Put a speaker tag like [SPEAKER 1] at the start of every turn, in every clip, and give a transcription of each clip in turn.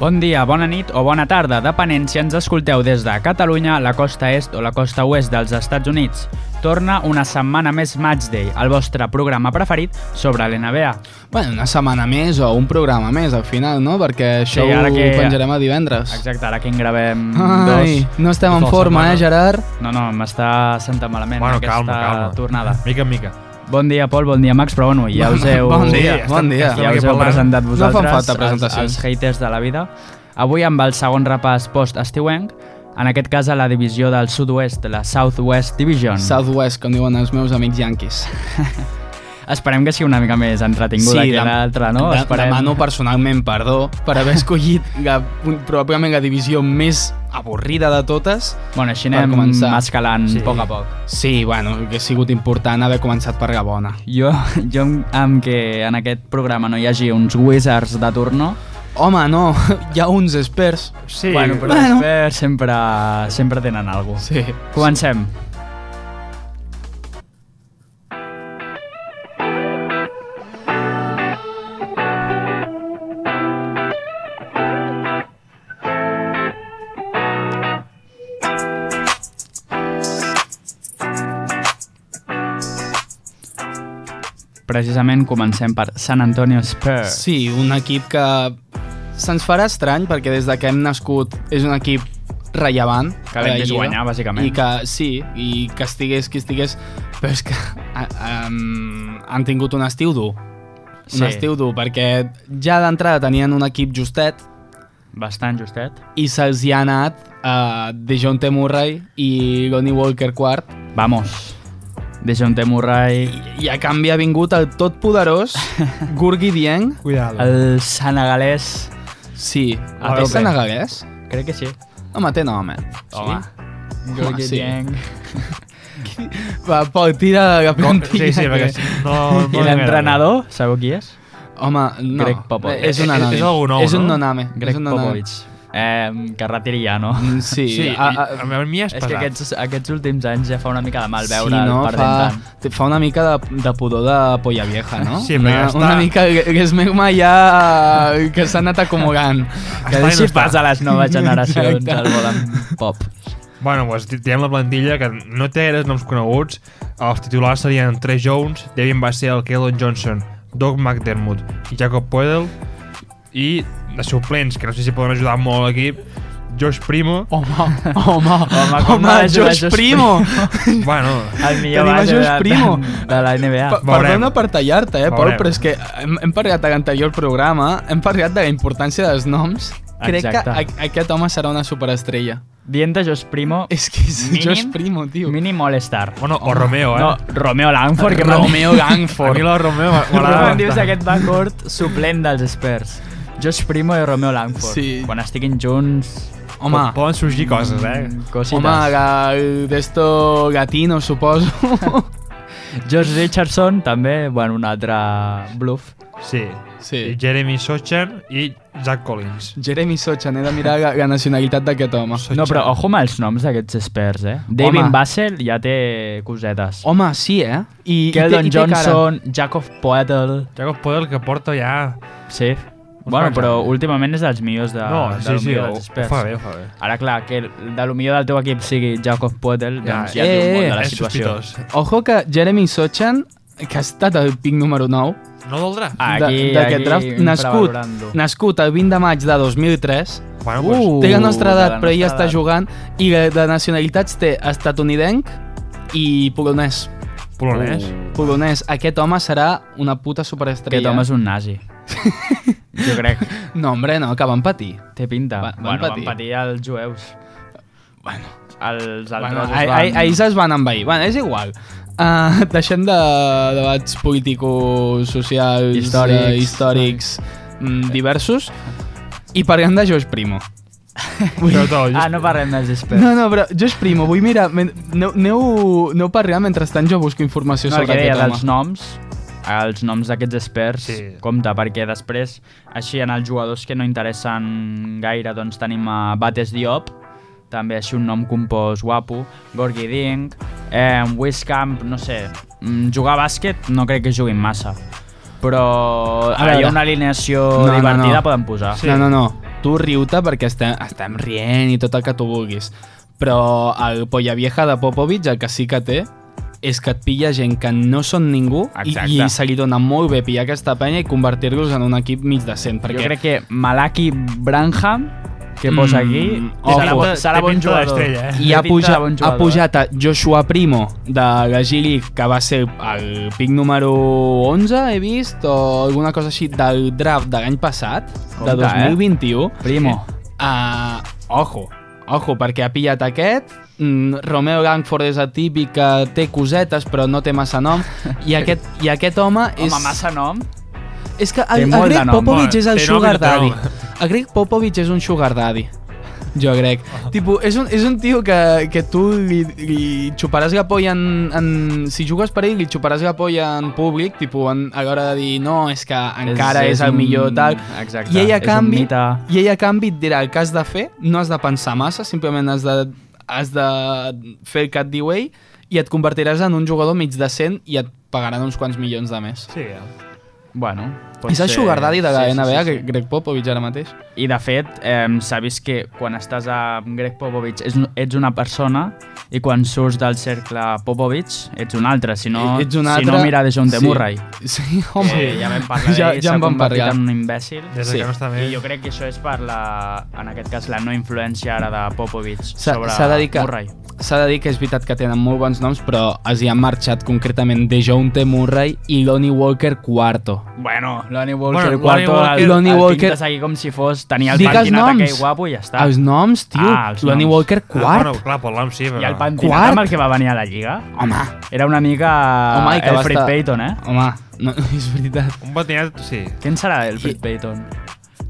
[SPEAKER 1] Bon dia, bona nit o bona tarda, depenent si ens escolteu des de Catalunya, la costa est o la costa oest dels Estats Units. Torna una setmana més Matchday, el vostre programa preferit sobre l'NBA.
[SPEAKER 2] Bueno, una setmana més o un programa més, al final, no? Perquè això
[SPEAKER 1] Sí, ara
[SPEAKER 2] ho
[SPEAKER 1] que-
[SPEAKER 2] penjarem a divendres.
[SPEAKER 1] Exacte, ara que en gravem
[SPEAKER 2] Ai,
[SPEAKER 1] dos...
[SPEAKER 2] no estem en
[SPEAKER 3] dues
[SPEAKER 2] forma, eh,
[SPEAKER 3] setmanes.
[SPEAKER 2] Gerard?
[SPEAKER 1] No, no, m'està sentant malament
[SPEAKER 3] Bueno,
[SPEAKER 1] aquesta
[SPEAKER 3] calma, calma.
[SPEAKER 1] tornada.
[SPEAKER 3] Mica en mica.
[SPEAKER 1] Bon dia, Pol, bon dia, Max, però bueno, ja us heu...
[SPEAKER 2] Bon dia,
[SPEAKER 3] estem-
[SPEAKER 2] bon dia.
[SPEAKER 3] estem
[SPEAKER 1] Ja
[SPEAKER 3] aquí
[SPEAKER 1] us heu
[SPEAKER 3] parlant.
[SPEAKER 1] presentat
[SPEAKER 2] No fan
[SPEAKER 1] vosaltres,
[SPEAKER 2] falta presentacions.
[SPEAKER 1] Els, els haters de la vida. Avui amb el segon repàs post-estiuenc, en aquest cas a la divisió del sud-oest, la Southwest Division.
[SPEAKER 2] Southwest, com diuen els meus amics yanquis.
[SPEAKER 1] Esperem que sigui una mica més entretinguda que
[SPEAKER 2] dem-
[SPEAKER 1] l'altra, no?
[SPEAKER 2] de-
[SPEAKER 1] Esperem.
[SPEAKER 2] Demano personalment perdó per haver escollit la, probablement la divisió més avorrida de totes.
[SPEAKER 1] Bueno, així
[SPEAKER 2] per
[SPEAKER 1] anem
[SPEAKER 2] començar.
[SPEAKER 1] escalant
[SPEAKER 3] Sí.
[SPEAKER 1] a poc a poc.
[SPEAKER 2] Sí, bueno, que ha sigut important haver començat per la bona.
[SPEAKER 1] Jo, jo amb- amb que en aquest programa no hi hagi uns wizards de turno,
[SPEAKER 2] Home, no, hi ha uns experts.
[SPEAKER 3] Sí,
[SPEAKER 1] bueno, però
[SPEAKER 2] bueno.
[SPEAKER 1] després sempre, sempre tenen alguna cosa.
[SPEAKER 2] Sí.
[SPEAKER 1] Comencem. Precisament comencem per San Antonio Spurs.
[SPEAKER 2] Sí, un equip que se'ns farà estrany perquè des de que hem nascut és un equip rellevant.
[SPEAKER 1] Que
[SPEAKER 2] a la
[SPEAKER 1] l'hem vist
[SPEAKER 2] Lliga.
[SPEAKER 1] guanyar, bàsicament.
[SPEAKER 2] I que sí, i que estigués qui estigués, però és que a, um, han tingut un estiu dur. Un
[SPEAKER 1] Sí.
[SPEAKER 2] estiu dur, perquè ja d'entrada tenien un equip justet
[SPEAKER 1] Bastant justet.
[SPEAKER 2] i se'ls hi ha anat uh, Dejounte Murray i Lonnie Walker quart
[SPEAKER 1] Vamos. Dejounte Murray,
[SPEAKER 2] i a canvi ha vingut el tot poderós Gurgi Dieng.
[SPEAKER 3] Cuidado.
[SPEAKER 1] el senegalès...
[SPEAKER 2] Sí,
[SPEAKER 1] A
[SPEAKER 2] és
[SPEAKER 1] tope.
[SPEAKER 2] senegalès?
[SPEAKER 1] Crec que sí.
[SPEAKER 2] Home, té nom, eh?
[SPEAKER 1] Home.
[SPEAKER 2] Home,
[SPEAKER 1] Jorge
[SPEAKER 2] sí.
[SPEAKER 1] Dieng.
[SPEAKER 2] Va, Pol, tira la plantilla.
[SPEAKER 3] Sí, sí, perquè
[SPEAKER 2] que-
[SPEAKER 3] no... no
[SPEAKER 1] I l'entrenador, sabeu qui és?
[SPEAKER 2] Home, no. Eh,
[SPEAKER 1] Greg Popovich.
[SPEAKER 2] És un
[SPEAKER 3] És-
[SPEAKER 2] anònim.
[SPEAKER 3] és algú nou,
[SPEAKER 2] És un
[SPEAKER 3] no?
[SPEAKER 2] noname.
[SPEAKER 1] Greg
[SPEAKER 2] és un noname.
[SPEAKER 1] Popovich. Eh, que retiri ja, no?
[SPEAKER 2] Mm, Sí,
[SPEAKER 3] Sí,
[SPEAKER 2] a, a,
[SPEAKER 3] a, a, mi és
[SPEAKER 1] És que
[SPEAKER 3] pesat. Aquests...
[SPEAKER 1] aquests, aquests últims anys ja fa una mica de mal veure
[SPEAKER 2] sí, no,
[SPEAKER 1] el perdent
[SPEAKER 2] fa,
[SPEAKER 1] tant.
[SPEAKER 2] té- fa una mica de, de pudor de polla vieja, no?
[SPEAKER 3] Sí, però
[SPEAKER 2] una,
[SPEAKER 3] ja està.
[SPEAKER 2] Una mica que que és megma ja eh, que s'ha anat acomodant.
[SPEAKER 1] Que
[SPEAKER 3] Està i
[SPEAKER 1] així
[SPEAKER 3] no està.
[SPEAKER 1] passa a les noves generacions
[SPEAKER 2] Exacte.
[SPEAKER 1] al volant pop.
[SPEAKER 3] Bueno, doncs ti- tirem la plantilla, que no té gaires noms coneguts. Els titulars serien Trey Jones, Devin va ser el Keldon Johnson, Doug McDermott i Jacob Poedel. I de suplents, que no sé si poden ajudar molt l'equip, Josh Primo.
[SPEAKER 1] Oh.
[SPEAKER 2] Home, home, home,
[SPEAKER 1] com no ha
[SPEAKER 2] home
[SPEAKER 1] de jugar
[SPEAKER 2] Josh
[SPEAKER 1] Josh
[SPEAKER 2] Primo.
[SPEAKER 3] Bueno,
[SPEAKER 1] El millor
[SPEAKER 2] Tenim a
[SPEAKER 1] base
[SPEAKER 2] Josh
[SPEAKER 1] de,
[SPEAKER 2] Primo.
[SPEAKER 1] de, de la NBA.
[SPEAKER 2] Pa-
[SPEAKER 3] Veurem.
[SPEAKER 2] Perdona per tallar-te, eh, Pol,
[SPEAKER 3] Veurem.
[SPEAKER 2] però és que hem, hem parlat a l'anterior programa, hem parlat de la importància dels noms. Crec
[SPEAKER 1] Exacte.
[SPEAKER 2] que a, aquest home serà una superestrella.
[SPEAKER 1] Dient de Josh Primo,
[SPEAKER 2] És que és
[SPEAKER 1] Mínim?
[SPEAKER 2] Josh Primo, tio.
[SPEAKER 1] mínim All-Star.
[SPEAKER 3] bueno o Romeo, eh?
[SPEAKER 1] No, Romeo Langford, que
[SPEAKER 2] Romeo
[SPEAKER 3] a mi
[SPEAKER 2] Gangford.
[SPEAKER 3] la Romeo
[SPEAKER 1] Quan
[SPEAKER 3] m'agrada
[SPEAKER 1] em dius
[SPEAKER 3] bastant.
[SPEAKER 1] aquest backcourt suplent dels Spurs. Josh Primo i Romeo Langford.
[SPEAKER 2] Sí.
[SPEAKER 1] Quan estiguin junts...
[SPEAKER 2] Home,
[SPEAKER 3] Poden sorgir coses, eh?
[SPEAKER 1] Cosites.
[SPEAKER 2] home, ga- d'esto gatino, suposo.
[SPEAKER 1] George Richardson, també, bueno, un altre bluff.
[SPEAKER 3] Sí.
[SPEAKER 2] Sí.
[SPEAKER 3] I Jeremy Sochan i Zach Collins.
[SPEAKER 2] Jeremy Sochan, he de mirar la, la nacionalitat d'aquest home.
[SPEAKER 1] No, però ojo amb els noms d'aquests experts, eh? David Bassel ja té cosetes.
[SPEAKER 2] Home, sí, eh? I, i
[SPEAKER 1] Keldon
[SPEAKER 2] té- i té cara.
[SPEAKER 1] Johnson, Jacob Poeltl,
[SPEAKER 3] Jacob Podel que porta ja...
[SPEAKER 1] sí. Bueno,
[SPEAKER 3] quants
[SPEAKER 1] però
[SPEAKER 3] anys.
[SPEAKER 1] últimament és dels millors de,
[SPEAKER 3] no,
[SPEAKER 1] de
[SPEAKER 3] sí,
[SPEAKER 1] lo
[SPEAKER 3] sí,
[SPEAKER 1] millor dels
[SPEAKER 3] ho, ho
[SPEAKER 1] Ah, experts.
[SPEAKER 3] fa bé, ho fa bé.
[SPEAKER 1] Ara, clar, que de lo millor del teu equip sigui Jacob Poeltl,
[SPEAKER 3] Ja,
[SPEAKER 1] doncs ja et diu
[SPEAKER 2] eh,
[SPEAKER 1] molt de la
[SPEAKER 3] És
[SPEAKER 1] situació.
[SPEAKER 3] sospitós.
[SPEAKER 2] Ojo que Jeremy Sochan, que ha estat el pic número 9
[SPEAKER 3] No doldrà?
[SPEAKER 1] Aquí,
[SPEAKER 2] de- d'aquest
[SPEAKER 1] aquí,
[SPEAKER 2] draft, nascut,
[SPEAKER 1] infravalorant-lo.
[SPEAKER 2] nascut el 20 de maig de 2003,
[SPEAKER 3] Bueno,
[SPEAKER 1] Uh.
[SPEAKER 2] té la nostra
[SPEAKER 1] de la
[SPEAKER 2] edat, però ell
[SPEAKER 1] nostra
[SPEAKER 2] està
[SPEAKER 1] edat.
[SPEAKER 2] jugant, i de- de nacionalitats té estatunidenc i polonès.
[SPEAKER 3] pues, polonès.
[SPEAKER 1] Uh.
[SPEAKER 2] Polonès, aquest home serà una puta
[SPEAKER 1] Eh?
[SPEAKER 2] superestrella.
[SPEAKER 1] Aquest home és un nazi. jo crec.
[SPEAKER 2] No, hombre, no, que van patir.
[SPEAKER 1] Té pinta.
[SPEAKER 2] Va- van
[SPEAKER 1] bueno,
[SPEAKER 2] patir.
[SPEAKER 1] van patir els jueus.
[SPEAKER 2] Bueno.
[SPEAKER 1] Els altres
[SPEAKER 2] Bueno,
[SPEAKER 1] es
[SPEAKER 2] ah- ah-
[SPEAKER 1] van...
[SPEAKER 2] ahir se'ls van envair. Bueno, és igual. Uh, deixem de debats polítics, socials,
[SPEAKER 1] Històrics.
[SPEAKER 2] eh, històrics mm, diversos i parlem de Josh Primo.
[SPEAKER 3] Però tot,
[SPEAKER 1] Ah, no parlem dels experts.
[SPEAKER 2] No, no, però Josh Primo, vull mirar... men- Aneu, aneu, aneu parlant mentrestant jo busco informació
[SPEAKER 1] No, el
[SPEAKER 2] sobre
[SPEAKER 1] que deia
[SPEAKER 2] aquest home.
[SPEAKER 1] dels noms, els noms d'aquests experts, sí.
[SPEAKER 3] Sí.
[SPEAKER 1] compte, perquè després, així en els jugadors que no interessen gaire, doncs tenim a Bates Diop, també així un nom compost guapo, Gorgi Dink, eh, Wiscamp, no sé, mm, jugar a bàsquet no crec que juguin massa, però
[SPEAKER 2] A
[SPEAKER 1] hi
[SPEAKER 2] veure.
[SPEAKER 1] ha una alineació
[SPEAKER 2] No, no,
[SPEAKER 1] divertida
[SPEAKER 2] no.
[SPEAKER 1] poden posar.
[SPEAKER 2] No, no, no. tu riu-te perquè estem, estem rient i tot el que tu vulguis. Però el polla vieja de Popovic el que sí que té és que et pilla gent que no són ningú i,
[SPEAKER 4] Exacte.
[SPEAKER 2] i se li dona molt bé pillar aquesta penya i convertir-los en un equip mig decent. Perquè
[SPEAKER 1] Jo crec que Malaki Branham, que posa
[SPEAKER 2] Mm,
[SPEAKER 1] aquí,
[SPEAKER 2] ojo.
[SPEAKER 1] serà, bo-
[SPEAKER 3] Té
[SPEAKER 1] serà bon
[SPEAKER 3] pinta
[SPEAKER 1] jugador.
[SPEAKER 3] d'estrella, eh?
[SPEAKER 2] i
[SPEAKER 1] Té pinta
[SPEAKER 2] ha
[SPEAKER 1] de
[SPEAKER 2] pujat,
[SPEAKER 1] bon
[SPEAKER 2] ha
[SPEAKER 1] jugador,
[SPEAKER 2] pujat a Joshua Primo de la G-League que va ser el pic número 11 he vist o alguna cosa així del draft de l'any passat
[SPEAKER 1] Compte, eh?
[SPEAKER 2] de 2021
[SPEAKER 1] eh? Primo.
[SPEAKER 2] Ah, ojo, ojo, perquè ha pillat aquest. Mm, Romeo Langford és atípic, que té cosetes però no té massa nom. I aquest, i aquest home és...
[SPEAKER 1] Home, massa nom.
[SPEAKER 2] És que
[SPEAKER 1] té
[SPEAKER 2] el, el
[SPEAKER 1] molt de
[SPEAKER 2] Greg
[SPEAKER 1] nom.
[SPEAKER 2] Popovich
[SPEAKER 3] Home,
[SPEAKER 2] és el
[SPEAKER 3] té nom i
[SPEAKER 2] sugar
[SPEAKER 3] no té nom.
[SPEAKER 2] daddy. El Greg Popovich és un sugar daddy. Jo crec. Tipo, és un, és un tio que, que tu li, li xuparàs la polla en, en... Si jugues per ell, li xuparàs la polla en públic, tipo, en, a l'hora de dir no, és que encara és, és el
[SPEAKER 1] un-
[SPEAKER 2] millor tal.
[SPEAKER 1] Exacte.
[SPEAKER 2] I ell, a
[SPEAKER 1] és un
[SPEAKER 2] canvi,
[SPEAKER 1] mite.
[SPEAKER 2] I ell a canvi et dirà el que has de fer, no has de pensar massa, simplement has de, has de fer el que et diu ell i et convertiràs en un jugador mig decent i et pagaran uns quants milions de més.
[SPEAKER 3] Sí, eh? ja.
[SPEAKER 1] Bueno, pot
[SPEAKER 2] Pot és el
[SPEAKER 1] ser-
[SPEAKER 2] sugar daddy de la
[SPEAKER 1] sí, sí,
[SPEAKER 2] sí, NBA,
[SPEAKER 1] sí, sí.
[SPEAKER 2] que Greg Popovich ara mateix.
[SPEAKER 1] I de fet, eh, s'ha vist que quan estàs amb Greg Popovich ets, ets una persona i quan surts del cercle Popovich ets una altra, si no,
[SPEAKER 2] E- ets un
[SPEAKER 1] si no
[SPEAKER 2] altre-
[SPEAKER 1] mira de John de
[SPEAKER 2] sí.
[SPEAKER 1] Murray.
[SPEAKER 2] Sí, home.
[SPEAKER 1] Home, ja vam parlar
[SPEAKER 2] Ja-
[SPEAKER 1] d'ell,
[SPEAKER 2] ja
[SPEAKER 1] s'ha
[SPEAKER 2] en vam
[SPEAKER 1] convertit
[SPEAKER 2] parlar.
[SPEAKER 1] en un imbècil.
[SPEAKER 3] Des
[SPEAKER 2] Sí.
[SPEAKER 3] que no està bé.
[SPEAKER 1] I jo crec que això és per la, en aquest cas, la no influència ara de Popovich
[SPEAKER 2] S'ha-
[SPEAKER 1] sobre
[SPEAKER 2] s'ha de dir que-
[SPEAKER 1] Murray.
[SPEAKER 2] S'ha de dir que és veritat que tenen molt bons noms, però els hi han marxat concretament Dejounte Murray i Lonnie Walker Cuarto.
[SPEAKER 1] Bueno, Lonnie Walker,
[SPEAKER 3] Lonnie
[SPEAKER 1] bueno, quarto,
[SPEAKER 3] Walker-
[SPEAKER 1] el,
[SPEAKER 2] Lonnie
[SPEAKER 1] el
[SPEAKER 2] Walker-
[SPEAKER 1] pintes aquí com si fos, tenia el
[SPEAKER 2] Digues
[SPEAKER 1] pentinat
[SPEAKER 2] noms.
[SPEAKER 1] aquell guapo i ja està.
[SPEAKER 2] Els noms, tio.
[SPEAKER 1] Ah, els
[SPEAKER 2] Lonnie
[SPEAKER 1] noms.
[SPEAKER 2] Walker
[SPEAKER 3] Ah,
[SPEAKER 2] Quart.
[SPEAKER 3] bueno, clar, parlàvem sí, però...
[SPEAKER 1] I el pentinat
[SPEAKER 2] Quart?
[SPEAKER 1] amb el que va venir a la Lliga
[SPEAKER 2] Home,
[SPEAKER 1] era una mica
[SPEAKER 2] Home, i que va
[SPEAKER 1] Elfrid
[SPEAKER 2] estar-
[SPEAKER 1] Payton, eh?
[SPEAKER 2] home, no, és veritat.
[SPEAKER 3] Un pentinat, sí.
[SPEAKER 1] Quin serà Elfrid Payton?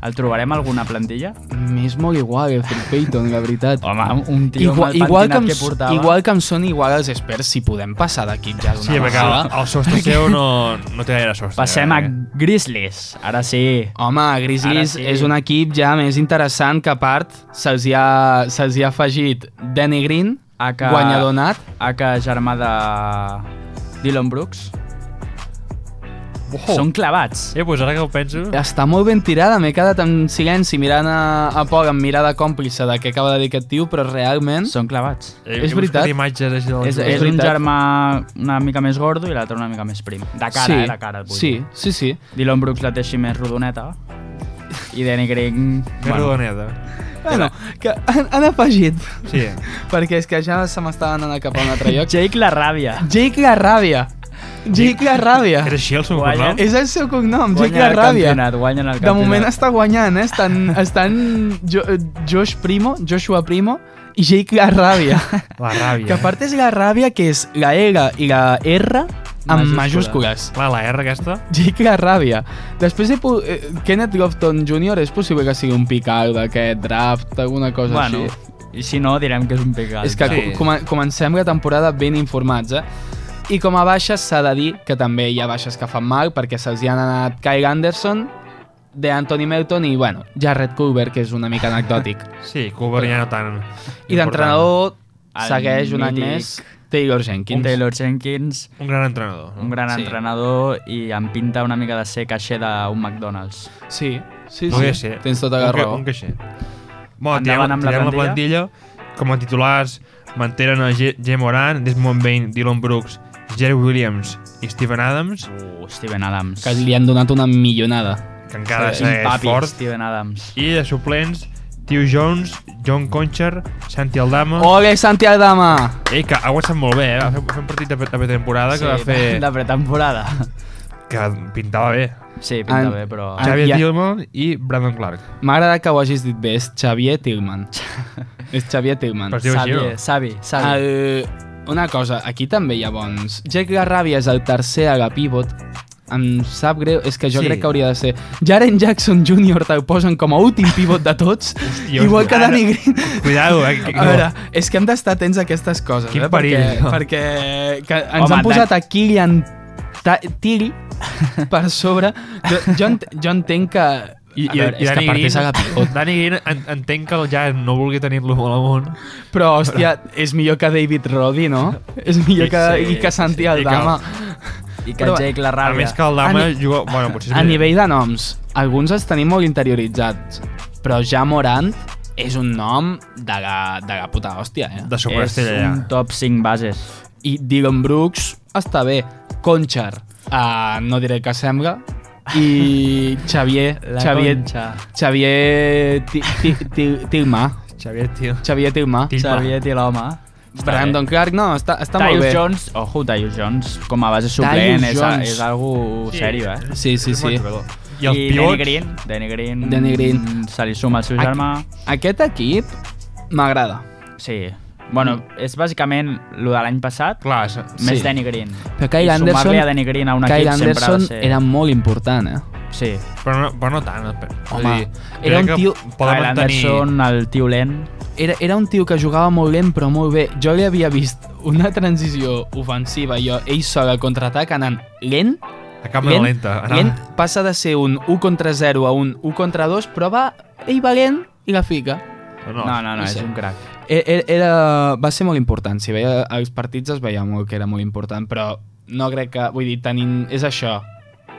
[SPEAKER 1] El trobarem a alguna plantilla?
[SPEAKER 2] M'és molt igual el Phil Payton, la veritat.
[SPEAKER 1] Home, un tio
[SPEAKER 2] Igual,
[SPEAKER 1] amb el
[SPEAKER 2] igual, que em,
[SPEAKER 1] pentinat que, portava.
[SPEAKER 2] igual que em són igual els experts si podem passar d'aquí ja d'una
[SPEAKER 3] Sí, perquè el,
[SPEAKER 2] vegada.
[SPEAKER 3] el sostre seu no, no té gaire sostre.
[SPEAKER 1] Passem a
[SPEAKER 3] eh?
[SPEAKER 1] Grizzlies. Ara sí.
[SPEAKER 2] Home, Grizzlies
[SPEAKER 1] Ara sí.
[SPEAKER 2] sí. és un equip ja més interessant que a part se'ls hi, ha, se hi ha afegit Danny Green,
[SPEAKER 1] A Ah, que-
[SPEAKER 2] guanyador nat.
[SPEAKER 1] A que germà de Dylan Brooks.
[SPEAKER 3] Uau.
[SPEAKER 1] Són clavats.
[SPEAKER 3] Eh, doncs ara que ho penso...
[SPEAKER 2] Està molt ben tirada, m'he quedat en silenci mirant a, a Pog amb mirada còmplice de què acaba de dir aquest tio, però realment...
[SPEAKER 1] Són clavats.
[SPEAKER 2] és
[SPEAKER 3] Eh, he buscat
[SPEAKER 2] veritat.
[SPEAKER 3] imatges així del
[SPEAKER 1] És, és
[SPEAKER 3] joc.
[SPEAKER 1] un
[SPEAKER 2] Mm? Doncs veritat.
[SPEAKER 1] germà una mica més gordo i l'altre una mica més prim. De cara, eh? De cara. et vull
[SPEAKER 2] sí,
[SPEAKER 1] dir.
[SPEAKER 2] sí, sí.
[SPEAKER 1] Dylan Brooks la té així més rodoneta. I Danny Green...
[SPEAKER 3] Més rodoneta.
[SPEAKER 2] Bueno, que han, han afegit,
[SPEAKER 3] Sí.
[SPEAKER 2] perquè és que ja se m'estava anant cap a un altre lloc.
[SPEAKER 1] Jake la ràbia.
[SPEAKER 2] Jake la ràbia. Jake la ràbia.
[SPEAKER 3] És així el seu
[SPEAKER 1] Guai,
[SPEAKER 3] cognom?
[SPEAKER 1] eh?
[SPEAKER 2] És el seu cognom, Jake
[SPEAKER 1] Guanyen
[SPEAKER 2] la
[SPEAKER 1] el
[SPEAKER 2] ràbia.
[SPEAKER 1] campionat, guanyen el
[SPEAKER 2] De
[SPEAKER 1] campionat.
[SPEAKER 2] moment està guanyant, eh? Estan, estan jo, eh, Josh Primo, Joshua Primo i Jake la ràbia.
[SPEAKER 3] La ràbia.
[SPEAKER 2] Que a part és la ràbia que és la L i la R amb
[SPEAKER 1] Majúscula.
[SPEAKER 2] majúscules.
[SPEAKER 3] Clar, la R aquesta...
[SPEAKER 2] Jake la ràbia. Després he pu- eh, Kenneth Lofton Jr. és possible que sigui un pical d'aquest draft, alguna cosa
[SPEAKER 1] Bueno,
[SPEAKER 2] així.
[SPEAKER 1] i si no, direm que és un pecat.
[SPEAKER 2] És que
[SPEAKER 3] Sí.
[SPEAKER 2] sí. com comencem la temporada ben informats, eh? I com a baixes s'ha de dir que també hi ha baixes que fan mal perquè se'ls hi han anat Kyle Anderson, de Anthony Melton i, bueno, Jarrett Culver, que és una mica anecdòtic.
[SPEAKER 3] Sí, Cooper ja no tant.
[SPEAKER 2] I
[SPEAKER 3] important.
[SPEAKER 2] d'entrenador
[SPEAKER 1] El
[SPEAKER 2] segueix un any
[SPEAKER 1] mític
[SPEAKER 2] més Taylor
[SPEAKER 1] Un
[SPEAKER 2] Jenkins.
[SPEAKER 1] Taylor Jenkins,
[SPEAKER 3] Un gran entrenador.
[SPEAKER 1] un gran
[SPEAKER 2] Sí.
[SPEAKER 1] entrenador i em pinta una mica de ser caixer d'un McDonald's.
[SPEAKER 2] Sí, sí,
[SPEAKER 3] Podria
[SPEAKER 2] sí.
[SPEAKER 3] ser.
[SPEAKER 2] Tens tota la
[SPEAKER 3] un, ca-
[SPEAKER 2] raó.
[SPEAKER 3] Un caixer. Bueno,
[SPEAKER 1] Endavant
[SPEAKER 3] tirem,
[SPEAKER 1] amb la
[SPEAKER 3] tirem la plantilla. Com a titulars mantenen a G, G Moran, Desmond Bain, Dylan Brooks, Jerry Williams i Steven Adams,
[SPEAKER 1] Uh, Steven Adams.
[SPEAKER 2] Que li han donat una millonada.
[SPEAKER 3] que encara
[SPEAKER 1] És un
[SPEAKER 3] segueix
[SPEAKER 1] papi,
[SPEAKER 3] fort.
[SPEAKER 1] Steven Adams.
[SPEAKER 3] I de suplents, Tio Jones, John Concher, Santi Aldama...
[SPEAKER 2] Ole, Santi Aldama!
[SPEAKER 3] Ei, que ha guanyat molt bé, eh? Va fer, va fer un partit de, pre- de pretemporada que va fer...
[SPEAKER 1] de pretemporada.
[SPEAKER 3] que pintava bé.
[SPEAKER 1] Sí, pinta
[SPEAKER 2] En-
[SPEAKER 1] bé, però...
[SPEAKER 2] en-
[SPEAKER 3] Xavier
[SPEAKER 2] ja-
[SPEAKER 3] Tillman i Brandon Clark.
[SPEAKER 2] M'ha agradat que ho hagis dit bé, és Xavier Tillman. és Xavier Tillman.
[SPEAKER 3] Però es diu així, no?
[SPEAKER 1] Savi, Savi.
[SPEAKER 2] El, una cosa, aquí també hi ha bons. Jake Garrabia és el tercer a la pivot. Em sap greu, és que jo
[SPEAKER 3] Sí.
[SPEAKER 2] crec que hauria de ser... Jaren Jackson Jr. te'l posen com a últim pivot de tots,
[SPEAKER 3] Hòstia,
[SPEAKER 2] igual
[SPEAKER 3] hòstia.
[SPEAKER 2] que Danny Green.
[SPEAKER 3] Cuidado, eh? que-
[SPEAKER 2] A veure, és que hem d'estar atents a aquestes coses,
[SPEAKER 3] Quin
[SPEAKER 2] eh?
[SPEAKER 3] perill,
[SPEAKER 2] perquè,
[SPEAKER 3] no?
[SPEAKER 2] perquè que ens
[SPEAKER 1] Home,
[SPEAKER 2] han posat a Kylian Ta- Tilly per sobre. Jo, jo, ent jo entenc que...
[SPEAKER 3] I,
[SPEAKER 2] A
[SPEAKER 3] i,
[SPEAKER 2] veure,
[SPEAKER 3] i
[SPEAKER 2] és que
[SPEAKER 3] Danny
[SPEAKER 2] a part és a la
[SPEAKER 3] Green, Danny Green en, entenc que el jazz no vulgui tenir-lo molt amunt
[SPEAKER 2] Però, hòstia, és millor que David Roddy, no? És millor que,
[SPEAKER 1] Sí,
[SPEAKER 2] i que Santi
[SPEAKER 1] sí,
[SPEAKER 2] Aldama.
[SPEAKER 1] I que
[SPEAKER 2] però-
[SPEAKER 1] Jake la
[SPEAKER 3] a
[SPEAKER 1] ràbia.
[SPEAKER 3] més que el Dama
[SPEAKER 2] A ni-
[SPEAKER 3] juga... Bueno, potser és
[SPEAKER 2] A
[SPEAKER 3] millor.
[SPEAKER 2] nivell de noms, alguns els tenim molt interioritzats. però ja Morant és un nom de la, de la puta hòstia, eh?
[SPEAKER 3] De superestrella,
[SPEAKER 1] És un
[SPEAKER 3] ja.
[SPEAKER 1] top 5 bases.
[SPEAKER 2] I Dylan Brooks està bé. Conchar, uh, no diré que sembla. I Xavier... Xavier,
[SPEAKER 1] conxa.
[SPEAKER 2] Xavier Ti- Ti- Ti- Tilmà.
[SPEAKER 3] Xavier, tio.
[SPEAKER 2] Xavier Tilmà.
[SPEAKER 3] Til-
[SPEAKER 1] Xavier Tiloma.
[SPEAKER 2] Brandon Clark, no, està, està molt
[SPEAKER 1] Tyus
[SPEAKER 2] bé.
[SPEAKER 1] Jones, ojo, Tyus Jones, com a base suplent, és,
[SPEAKER 2] Jones.
[SPEAKER 1] és algo sí. sèrio, eh?
[SPEAKER 2] Sí, sí, sí.
[SPEAKER 3] I els
[SPEAKER 1] Danny
[SPEAKER 3] pivots...
[SPEAKER 1] Green, Danny Green,
[SPEAKER 2] Danny Green.
[SPEAKER 1] se li suma el seu
[SPEAKER 2] Ac-
[SPEAKER 1] germà.
[SPEAKER 2] Aquest equip m'agrada.
[SPEAKER 1] Sí. Bueno, és bàsicament el de l'any passat,
[SPEAKER 3] Clar, és-
[SPEAKER 1] més
[SPEAKER 2] Sí.
[SPEAKER 1] Danny Green.
[SPEAKER 2] Però Kyle
[SPEAKER 1] I
[SPEAKER 2] Anderson-
[SPEAKER 1] Sumar-li a Danny Green a un
[SPEAKER 2] Kyle
[SPEAKER 1] equip
[SPEAKER 2] Anderson
[SPEAKER 1] sempre ha de ser...
[SPEAKER 2] era molt important, eh?
[SPEAKER 1] Sí.
[SPEAKER 3] però, no, però no tant. Home,
[SPEAKER 2] Home, era un tio-
[SPEAKER 3] Poden
[SPEAKER 1] Kyle
[SPEAKER 3] mantenir...
[SPEAKER 1] Anderson, el tio lent.
[SPEAKER 2] Era, era un tio que jugava molt lent, però molt bé. Jo li havia vist una transició ofensiva, jo, ell sol al contraatac anant lent,
[SPEAKER 3] A càmera lenta. anava.
[SPEAKER 2] lent, passa de ser un 1 contra 0 a un 1 contra 2, però va, ell va lent i la fica.
[SPEAKER 1] No, no, no,
[SPEAKER 2] no
[SPEAKER 1] és
[SPEAKER 2] sé.
[SPEAKER 1] un crac.
[SPEAKER 2] E- e- Era, va ser molt important, si veia els partits es veia molt que era molt important, però no crec que, vull dir, tenim, és això,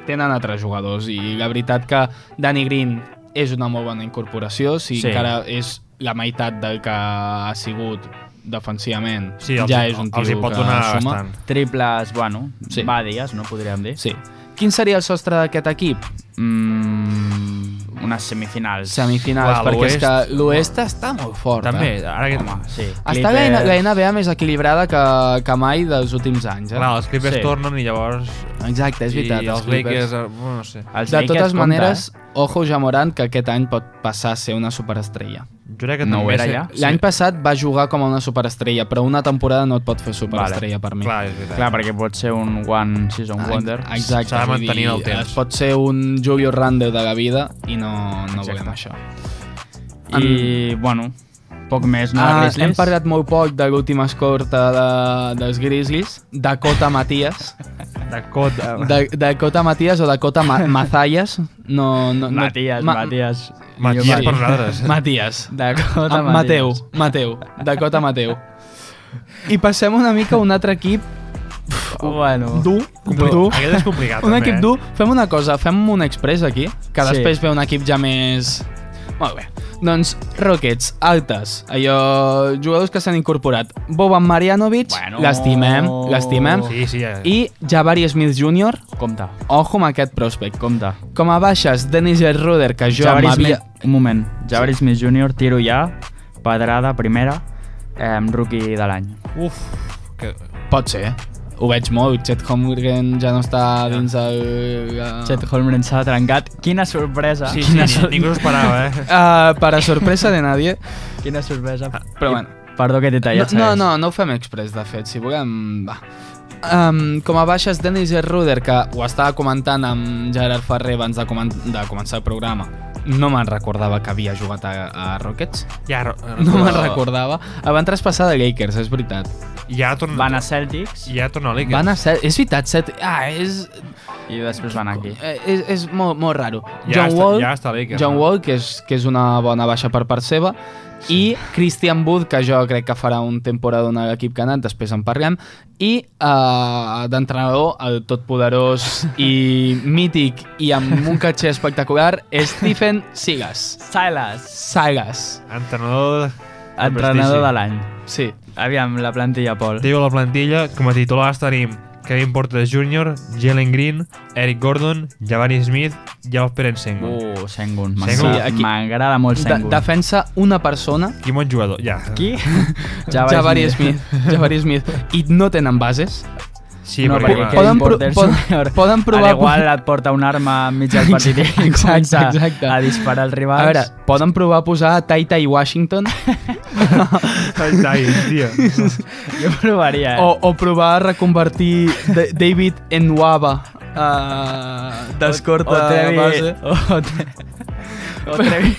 [SPEAKER 2] tenen altres jugadors i la veritat que Danny Green és una molt bona incorporació, si
[SPEAKER 1] Sí.
[SPEAKER 2] sí. encara és la meitat del que ha sigut defensivament,
[SPEAKER 3] Sí, els,
[SPEAKER 2] ja és un tio
[SPEAKER 3] els hi pot
[SPEAKER 2] que
[SPEAKER 3] donar
[SPEAKER 2] suma.
[SPEAKER 3] bastant.
[SPEAKER 1] Triples, bueno,
[SPEAKER 2] Sí.
[SPEAKER 1] va a dies, no podríem dir.
[SPEAKER 2] Sí. Quin seria el sostre d'aquest equip?
[SPEAKER 1] Mm, unes semifinals.
[SPEAKER 2] Semifinals,
[SPEAKER 3] Uah,
[SPEAKER 2] perquè és que
[SPEAKER 3] l'oest.
[SPEAKER 2] l'Oest està molt fort.
[SPEAKER 3] També,
[SPEAKER 2] Eh?
[SPEAKER 3] ara que... Home,
[SPEAKER 1] Sí.
[SPEAKER 2] Està la,
[SPEAKER 1] Clippers.
[SPEAKER 2] la NBA més equilibrada que, que mai dels últims anys. Eh?
[SPEAKER 3] clar, els Clippers
[SPEAKER 1] Sí.
[SPEAKER 3] sí. tornen i llavors...
[SPEAKER 2] Exacte, és veritat.
[SPEAKER 3] I els
[SPEAKER 2] Clippers.
[SPEAKER 3] Lakers... eh, Bueno, no sé.
[SPEAKER 1] Els
[SPEAKER 2] De
[SPEAKER 1] Lakers
[SPEAKER 2] totes
[SPEAKER 1] compta,
[SPEAKER 2] maneres, ojo ja Morant, que aquest any pot passar a ser una superestrella.
[SPEAKER 3] Jo crec que
[SPEAKER 1] No ho
[SPEAKER 3] també...
[SPEAKER 1] era
[SPEAKER 3] sé-
[SPEAKER 1] ja?
[SPEAKER 3] sí.
[SPEAKER 2] L'any passat va jugar com a una superestrella, però una temporada no et pot fer superestrella per mi.
[SPEAKER 3] Clar, és veritat.
[SPEAKER 1] Clar, perquè pot ser un One Season
[SPEAKER 2] Ah,
[SPEAKER 1] Wonder.
[SPEAKER 2] Exacte.
[SPEAKER 3] S'ha de
[SPEAKER 2] vull
[SPEAKER 3] mantenir
[SPEAKER 2] dir,
[SPEAKER 3] el temps.
[SPEAKER 2] Es pot ser un Julio Randle de la vida i no, no
[SPEAKER 3] Exacte.
[SPEAKER 2] volem això.
[SPEAKER 1] I, bueno, poc més, no?
[SPEAKER 2] Ah,
[SPEAKER 1] Grizzlies?
[SPEAKER 2] hem parlat molt poc de l'última escorta de, dels Grizzlies, Dakota Matías.
[SPEAKER 3] Dakota...
[SPEAKER 2] De, Dakota Matías o Dakota Ma Mazayas. No, no, no,
[SPEAKER 1] Matías,
[SPEAKER 2] Ma-
[SPEAKER 1] Matías.
[SPEAKER 3] Matías
[SPEAKER 2] Sí.
[SPEAKER 3] per nosaltres.
[SPEAKER 2] Matías.
[SPEAKER 1] Dakota,
[SPEAKER 2] Ah,
[SPEAKER 1] Matías.
[SPEAKER 2] Mateu, Mateu, Dakota Mateu. I passem una mica a un altre equip Oh.
[SPEAKER 1] Bueno.
[SPEAKER 2] dur,
[SPEAKER 3] Tu.
[SPEAKER 2] dur.
[SPEAKER 3] Aquest és complicat,
[SPEAKER 2] Un
[SPEAKER 3] també,
[SPEAKER 2] equip
[SPEAKER 3] eh?
[SPEAKER 2] dur. Fem una cosa, fem un express aquí, que
[SPEAKER 1] Sí.
[SPEAKER 2] després ve un equip ja més... Molt bé. Doncs Rockets, altes, allò, jugadors que s'han incorporat. Boban Marjanovic,
[SPEAKER 1] Bueno.
[SPEAKER 2] l'estimem, l'estimem.
[SPEAKER 3] Sí, sí, eh. ja.
[SPEAKER 2] I Jabari Smith Jr.,
[SPEAKER 1] Compte,
[SPEAKER 2] ojo amb aquest prospect.
[SPEAKER 1] compte.
[SPEAKER 2] Com a baixes, Dennis Roder, que jo
[SPEAKER 1] Jabari
[SPEAKER 2] m'havia...
[SPEAKER 1] Smith, un moment. Jabari Smith Jr., tiro ja, pedrada, primera, eh, rookie de l'any.
[SPEAKER 3] Uf, que...
[SPEAKER 2] Pot ser, ho veig molt. Chet Holmgren ja no està dins el... eh, La...
[SPEAKER 1] Chet Holmgren s'ha trencat. Quina sorpresa.
[SPEAKER 3] Sí, sí,
[SPEAKER 1] quina,
[SPEAKER 3] ni- ningú s'ho esperava, eh?
[SPEAKER 2] Uh, per a sorpresa de nadie.
[SPEAKER 1] quina sorpresa.
[SPEAKER 2] però bueno.
[SPEAKER 1] Perdó que t'he
[SPEAKER 2] No,
[SPEAKER 1] tallat.
[SPEAKER 2] no,
[SPEAKER 1] Saez.
[SPEAKER 2] no, no ho fem express, de fet. Si volem, va. Um, com a baixes, Dennis Ruder, que ho estava comentant amb Gerard Ferrer abans de, comen de començar el programa, no me'n recordava que havia jugat a, a Rockets.
[SPEAKER 3] Ja,
[SPEAKER 2] No me'n recordava. El van traspassar de Lakers, és veritat.
[SPEAKER 3] Ja torna...
[SPEAKER 1] Van a Celtics
[SPEAKER 3] Ja torna a Lakers.
[SPEAKER 2] Van a set... És veritat, set... Ah, és...
[SPEAKER 1] i després van aquí.
[SPEAKER 2] eh, És, és molt, molt raro.
[SPEAKER 3] Ja
[SPEAKER 2] John
[SPEAKER 3] està-
[SPEAKER 2] Wall...
[SPEAKER 3] ja està a Lakers.
[SPEAKER 2] John Wall, que és, que és una bona baixa per part seva, i Christian Wood, que jo crec que farà un temporada a l'equip que ha anat, després en parlem, i eh, d'entrenador, el totpoderós i mític i amb un catxer espectacular, Stephen Sigas.
[SPEAKER 1] Silas,
[SPEAKER 2] Sagas,
[SPEAKER 3] Entrenador... de
[SPEAKER 1] entrenador
[SPEAKER 3] prestigi.
[SPEAKER 1] de l'any.
[SPEAKER 2] sí.
[SPEAKER 1] Aviam, la plantilla, Pol.
[SPEAKER 3] Diu la plantilla, com a titulars tenim Kevin Porter Jr., Jalen Green, Eric Gordon, Jabari Smith i el Peren Sengun. Uh.
[SPEAKER 1] Uh, Sengun.
[SPEAKER 3] Sengun.
[SPEAKER 1] M'agrada-
[SPEAKER 2] Sí, aquí-
[SPEAKER 1] M'agrada molt
[SPEAKER 2] De
[SPEAKER 1] Sengun.
[SPEAKER 2] defensa una persona,
[SPEAKER 3] Quin bon jugador, ja.
[SPEAKER 1] Qui?
[SPEAKER 2] Jabari Smith. Jabari Smith. I no tenen bases.
[SPEAKER 3] Sí,
[SPEAKER 1] No,
[SPEAKER 3] no, perquè...
[SPEAKER 1] perquè
[SPEAKER 3] clar,
[SPEAKER 1] Kevin
[SPEAKER 2] Poden, pro
[SPEAKER 1] Porter Jr.
[SPEAKER 2] poden, poden provar...
[SPEAKER 1] Al igual et porta una arma enmig del partit i
[SPEAKER 2] Exacte,
[SPEAKER 1] comença
[SPEAKER 2] exacte.
[SPEAKER 1] a disparar als rivals.
[SPEAKER 2] A veure, poden provar a posar Taita i Washington
[SPEAKER 3] Ai, ai, tia.
[SPEAKER 1] jo provaria. Eh?
[SPEAKER 2] O, o provar a reconvertir Da- David Nwaba uh, d'escorta
[SPEAKER 1] o Trevi-
[SPEAKER 2] base.
[SPEAKER 1] O, Tre- o, Trevi,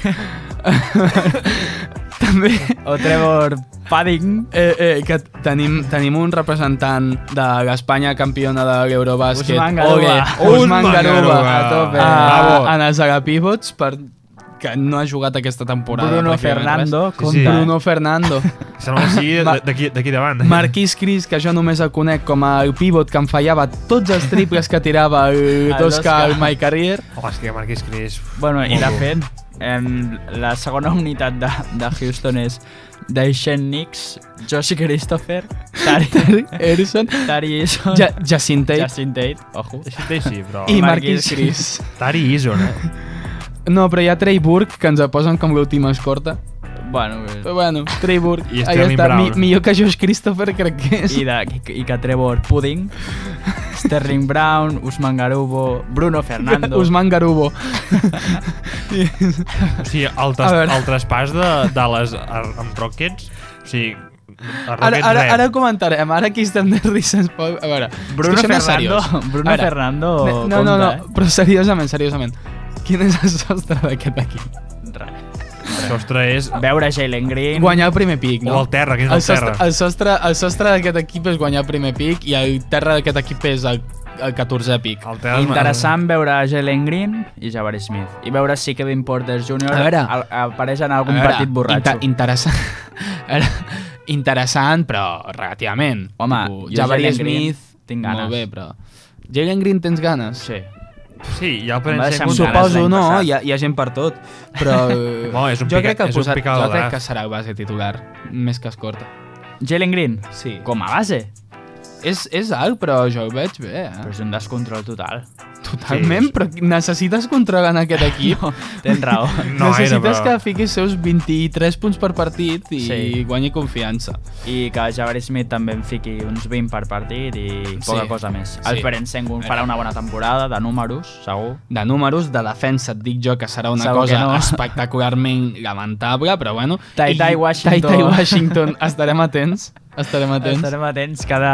[SPEAKER 2] També
[SPEAKER 1] o Trevor Padding.
[SPEAKER 2] eh, eh, que tenim, tenim un representant de l'Espanya campiona de l'Eurobàsquet.
[SPEAKER 1] Usman Garuba.
[SPEAKER 2] Ole,
[SPEAKER 3] Usman
[SPEAKER 2] Usman Garuba.
[SPEAKER 3] Garuba.
[SPEAKER 2] A tope.
[SPEAKER 3] Bravo.
[SPEAKER 2] A, en els agapivots per que no ha jugat aquesta temporada.
[SPEAKER 1] Bruno
[SPEAKER 2] pràcticament res.
[SPEAKER 1] Fernando,
[SPEAKER 3] Sí, sí.
[SPEAKER 1] compte.
[SPEAKER 2] Bruno Fernando.
[SPEAKER 3] Sembla que sigui
[SPEAKER 2] Ma-
[SPEAKER 3] de- d'aquí d'aquí davant.
[SPEAKER 2] Marquís Cris, que jo només el conec com a el pivot que em fallava tots els triples que tirava el
[SPEAKER 1] El
[SPEAKER 2] 2K al
[SPEAKER 1] Tosca.
[SPEAKER 2] My Career.
[SPEAKER 3] Home, és que Marquís Cris...
[SPEAKER 1] Bueno, i
[SPEAKER 3] molt
[SPEAKER 1] de
[SPEAKER 3] bo.
[SPEAKER 1] fet, em, la segona unitat de, de Houston és Daishen Nix, Josh Christopher, Tari,
[SPEAKER 2] Erison,
[SPEAKER 1] Tari Eason,
[SPEAKER 2] ja Jacint Tate
[SPEAKER 1] Justin Tate, ojo.
[SPEAKER 3] Així té així, però...
[SPEAKER 2] i
[SPEAKER 1] Marquis
[SPEAKER 2] Marquís Cris.
[SPEAKER 3] Tari Ison, eh?
[SPEAKER 2] No, però hi ha Trey Burke, que ens el posen com l'última escorta.
[SPEAKER 1] Bueno,
[SPEAKER 2] Però bueno, Trey Burke,
[SPEAKER 3] I
[SPEAKER 2] ahí
[SPEAKER 3] Sterling
[SPEAKER 2] està. Mi,
[SPEAKER 3] Brown.
[SPEAKER 2] millor que Josh Christopher, crec que és.
[SPEAKER 1] i, de, i, i que Trevor Pudding, Sterling Brown, Usman Garubo, Bruno Fernando...
[SPEAKER 2] Usman Garubo.
[SPEAKER 3] O sigui, el,
[SPEAKER 2] A
[SPEAKER 3] tras
[SPEAKER 2] veure.
[SPEAKER 3] el traspàs de, de les... a- amb Rockets... O sigui, a
[SPEAKER 2] Ara,
[SPEAKER 3] Rockets
[SPEAKER 2] ara,
[SPEAKER 3] res.
[SPEAKER 2] ara ho comentarem, ara aquí estem de risses. A veure, és
[SPEAKER 1] Bruno
[SPEAKER 2] que això no és
[SPEAKER 1] Fernando,
[SPEAKER 2] seriós.
[SPEAKER 1] Bruno
[SPEAKER 2] A veure,
[SPEAKER 1] Fernando eh?
[SPEAKER 2] No, no, no,
[SPEAKER 1] compta,
[SPEAKER 2] no, però seriosament, seriosament. Quin és el sostre d'aquest equip?
[SPEAKER 1] eh?
[SPEAKER 3] El sostre és...
[SPEAKER 1] Veure Jalen Green...
[SPEAKER 2] Guanyar el primer pic, no?
[SPEAKER 3] O el terra, que és
[SPEAKER 2] el
[SPEAKER 3] el
[SPEAKER 2] sostre,
[SPEAKER 3] terra.
[SPEAKER 2] el sostre, el sostre d'aquest equip és guanyar el primer pic i el terra d'aquest equip és el, el 14è pic.
[SPEAKER 3] El terra és-
[SPEAKER 1] Interessant veure Jalen Green i Jabari Smith. I veure si Kevin Porter Jr.
[SPEAKER 2] A veure.
[SPEAKER 1] al- apareix en algun
[SPEAKER 2] A veure,
[SPEAKER 1] partit borratxo.
[SPEAKER 2] Inter interessant, a veure, interessant, però relativament.
[SPEAKER 1] Home,
[SPEAKER 2] Tipo,
[SPEAKER 1] jo
[SPEAKER 2] Jabari
[SPEAKER 1] Jalen Green
[SPEAKER 2] Smith,
[SPEAKER 1] tinc ganes.
[SPEAKER 2] Molt bé, però... Jalen Green tens ganes?
[SPEAKER 1] Sí.
[SPEAKER 3] Sí,
[SPEAKER 1] Em va
[SPEAKER 3] ja el prenen
[SPEAKER 1] deixar
[SPEAKER 3] sent...
[SPEAKER 1] amb ganes
[SPEAKER 2] Suposo
[SPEAKER 1] l'any
[SPEAKER 2] no,
[SPEAKER 1] passat.
[SPEAKER 2] hi ha, hi ha gent per tot, però... eh,
[SPEAKER 3] No, és un
[SPEAKER 2] jo
[SPEAKER 3] pica-
[SPEAKER 2] crec que,
[SPEAKER 3] és un
[SPEAKER 2] posat,
[SPEAKER 3] pica
[SPEAKER 2] jo
[SPEAKER 3] de
[SPEAKER 2] crec
[SPEAKER 3] draft.
[SPEAKER 2] que serà el base titular, més que escorta.
[SPEAKER 1] Jalen Green,
[SPEAKER 2] Sí. Ah.
[SPEAKER 1] com a base,
[SPEAKER 2] És, és alt, però jo ho veig bé.
[SPEAKER 1] però
[SPEAKER 2] Eh?
[SPEAKER 1] és un descontrol total.
[SPEAKER 2] Totalment,
[SPEAKER 3] sí, sí.
[SPEAKER 2] però necessites controlar en aquest equip. No,
[SPEAKER 1] Tens raó.
[SPEAKER 3] No gaire,
[SPEAKER 2] Necessites
[SPEAKER 3] però-
[SPEAKER 2] que fiquis seus 23 punts per partit i
[SPEAKER 1] Sí.
[SPEAKER 2] guanyi confiança.
[SPEAKER 1] I que Jabari Smith també en fiqui uns 20 per partit i poca
[SPEAKER 2] Sí.
[SPEAKER 1] cosa més.
[SPEAKER 2] Sí.
[SPEAKER 1] El Peren Sengun farà una bona temporada de números, segur.
[SPEAKER 2] De números, de defensa, et dic jo que serà una
[SPEAKER 1] Segur
[SPEAKER 2] cosa
[SPEAKER 1] que no.
[SPEAKER 2] espectacularment lamentable, però bueno...
[SPEAKER 1] Tai
[SPEAKER 2] I-
[SPEAKER 1] Tai Washington.
[SPEAKER 2] Tai Tai Washington, estarem atents. Estarem atents.
[SPEAKER 1] Estarem atents, cada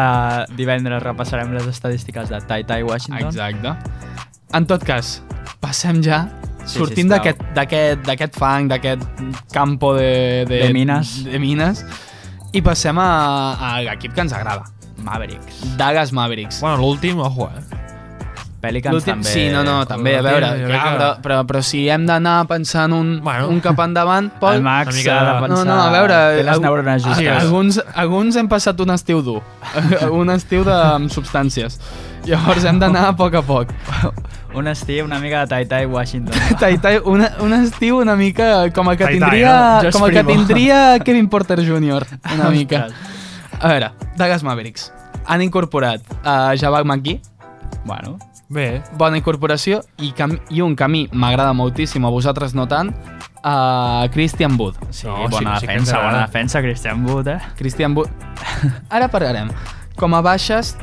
[SPEAKER 1] divendres repassarem les estadístiques de Tai Tai Washington.
[SPEAKER 2] Exacte. En tot cas, passem ja,
[SPEAKER 1] Sí,
[SPEAKER 2] sortint
[SPEAKER 1] sisplau.
[SPEAKER 2] d'aquest- d'aquest d'aquest fang, d'aquest campo de, de,
[SPEAKER 1] De mines.
[SPEAKER 2] de mines, i passem a, a l'equip que ens agrada,
[SPEAKER 1] Mavericks.
[SPEAKER 2] Dallas Mavericks.
[SPEAKER 3] Bueno, l'últim, ojo, eh?
[SPEAKER 1] Pelicans
[SPEAKER 2] L'últim-
[SPEAKER 1] també.
[SPEAKER 2] Sí, no, no, també, a
[SPEAKER 3] L'últim,
[SPEAKER 2] veure,
[SPEAKER 3] jo crec
[SPEAKER 2] clar,
[SPEAKER 3] que-
[SPEAKER 2] però, però, però si hem d'anar pensant un,
[SPEAKER 3] Bueno.
[SPEAKER 2] un cap endavant,
[SPEAKER 1] El
[SPEAKER 2] Pol...
[SPEAKER 1] Max
[SPEAKER 3] Una mica
[SPEAKER 1] ha de
[SPEAKER 3] de- Ah,
[SPEAKER 1] pensar...
[SPEAKER 2] No, no, a veure...
[SPEAKER 1] Té les
[SPEAKER 2] algú-
[SPEAKER 1] neurones
[SPEAKER 2] a-
[SPEAKER 1] justes.
[SPEAKER 2] Alguns, alguns hem passat un estiu dur, un estiu de, amb substàncies. Llavors hem d'anar a poc a poc.
[SPEAKER 1] Un estiu una mica de Tai Tai Washington.
[SPEAKER 2] Tai Tai, una, un estiu una mica com el que
[SPEAKER 3] Tai Tai,
[SPEAKER 2] tindria,
[SPEAKER 1] no? Josh
[SPEAKER 2] com el que
[SPEAKER 1] Primo.
[SPEAKER 2] tindria Kevin Porter Jr. Una mica.
[SPEAKER 1] Ostres.
[SPEAKER 2] A veure, Dallas Mavericks. Han incorporat a uh, Jabal McGee,
[SPEAKER 1] Bueno,
[SPEAKER 3] Bé.
[SPEAKER 2] bona incorporació, i, cam i un camí m'agrada moltíssim, a vosaltres no tant, a uh, Christian Wood.
[SPEAKER 1] sí,
[SPEAKER 3] No, sí,
[SPEAKER 1] bona
[SPEAKER 3] sí que ens
[SPEAKER 1] defensa,
[SPEAKER 3] agrada.
[SPEAKER 1] bona defensa, Christian Wood, eh?
[SPEAKER 2] Christian Wood... Ara parlarem. Com a baixes,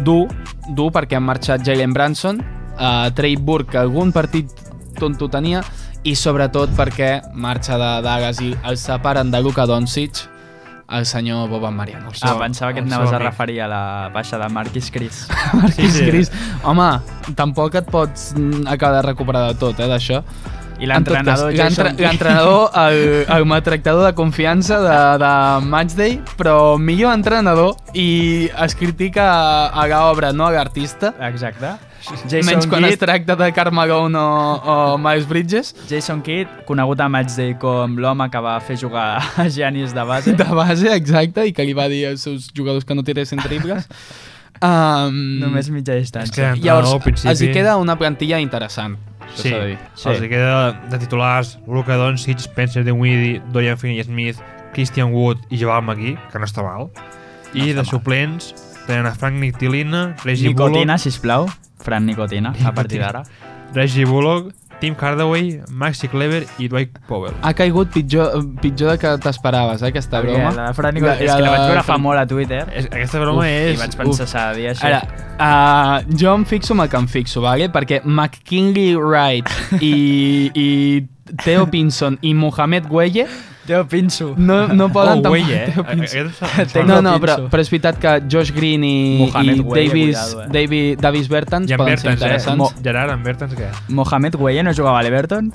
[SPEAKER 2] dur, dur perquè han marxat Jalen Branson, uh, Trey Burke, que algun partit tonto tenia, i sobretot perquè marxa de Dagas i el separen de Luka Doncic, el senyor Boban Mariano.
[SPEAKER 3] El
[SPEAKER 1] Ah,
[SPEAKER 3] seu-
[SPEAKER 1] pensava que et
[SPEAKER 3] el seu
[SPEAKER 1] anaves a
[SPEAKER 3] amic.
[SPEAKER 1] referir a la baixa de Marquis Cris.
[SPEAKER 2] Marquis
[SPEAKER 3] Sí,
[SPEAKER 2] sí,
[SPEAKER 3] sí.
[SPEAKER 2] Cris. Home, tampoc et pots mm, acabar de recuperar de tot, eh, d'això.
[SPEAKER 1] I
[SPEAKER 2] En tot cas,
[SPEAKER 1] l'entrenador Jason
[SPEAKER 2] l'entre-
[SPEAKER 1] Kidd.
[SPEAKER 2] L'entrenador, el, el maltractador de confiança de, de Matchday, però millor entrenador i es critica a, a l'obra, no a l'artista.
[SPEAKER 1] Exacte.
[SPEAKER 2] Menys
[SPEAKER 1] Jason
[SPEAKER 2] quan es
[SPEAKER 1] Kidd,
[SPEAKER 2] tracta de Carmagone o, o Miles Bridges,
[SPEAKER 1] Jason Kidd, conegut a Matchday com l'home que va fer jugar a Giannis de base.
[SPEAKER 2] de base, exacte, i que li va dir als seus jugadors que no tiressin triples. Um,
[SPEAKER 1] Només mitja
[SPEAKER 3] És que
[SPEAKER 1] distància.
[SPEAKER 2] Llavors,
[SPEAKER 3] No, al principi-
[SPEAKER 2] els hi queda una plantilla interessant. això
[SPEAKER 3] Sí,
[SPEAKER 2] s'ha de dir.
[SPEAKER 3] sí. Els hi queda de titulars Luka Doncic, Spencer Dinwiddie, Dorian Finney-Smith, Christian Wood i Jabal McGee, que no està mal. I de suplents tenen a Frank Nictilina, Reggie
[SPEAKER 1] Nicotina,
[SPEAKER 3] Bullock,
[SPEAKER 1] sisplau. Fran Nicotina, a partir d'ara.
[SPEAKER 3] Reggie Bullock, Tim Hardaway, Maxi Clever i Dwight Powell.
[SPEAKER 2] Ha caigut pitjor, pitjor de que t'esperaves, eh, aquesta broma.
[SPEAKER 1] La de Fran Nicotina, és
[SPEAKER 2] la
[SPEAKER 1] que la vaig veure fa
[SPEAKER 2] Fran-
[SPEAKER 1] molt a Twitter.
[SPEAKER 3] És, aquesta broma
[SPEAKER 2] Uf,
[SPEAKER 1] I
[SPEAKER 3] és...
[SPEAKER 1] vaig pensar,
[SPEAKER 2] uf.
[SPEAKER 1] s'ha de dir això.
[SPEAKER 2] Ara, uh, jo em fixo amb el que em fixo, vale? perquè McKinley Wright i, i Theo Pinson i Mohamed Güelle
[SPEAKER 1] Teo Pinso.
[SPEAKER 2] no, no poden...
[SPEAKER 3] Oh,
[SPEAKER 2] tampoc-
[SPEAKER 3] güey, eh?
[SPEAKER 2] Theo Pinson.
[SPEAKER 3] Aquest
[SPEAKER 1] Té
[SPEAKER 3] em
[SPEAKER 1] Tengo
[SPEAKER 2] No,
[SPEAKER 3] sona.
[SPEAKER 2] no, però,
[SPEAKER 1] Pinson.
[SPEAKER 2] però és veritat que Josh Green i,
[SPEAKER 1] Mohamed
[SPEAKER 2] i
[SPEAKER 1] Güelle,
[SPEAKER 2] Davis,
[SPEAKER 1] cuidado, eh.
[SPEAKER 2] Davis, Davis Bertans
[SPEAKER 3] I en
[SPEAKER 2] poden ser
[SPEAKER 3] Bertens, eh?
[SPEAKER 2] interessants.
[SPEAKER 3] Mo- Gerard, en Bertans, què?
[SPEAKER 1] Mohamed Güelle no jugava a l'Everton?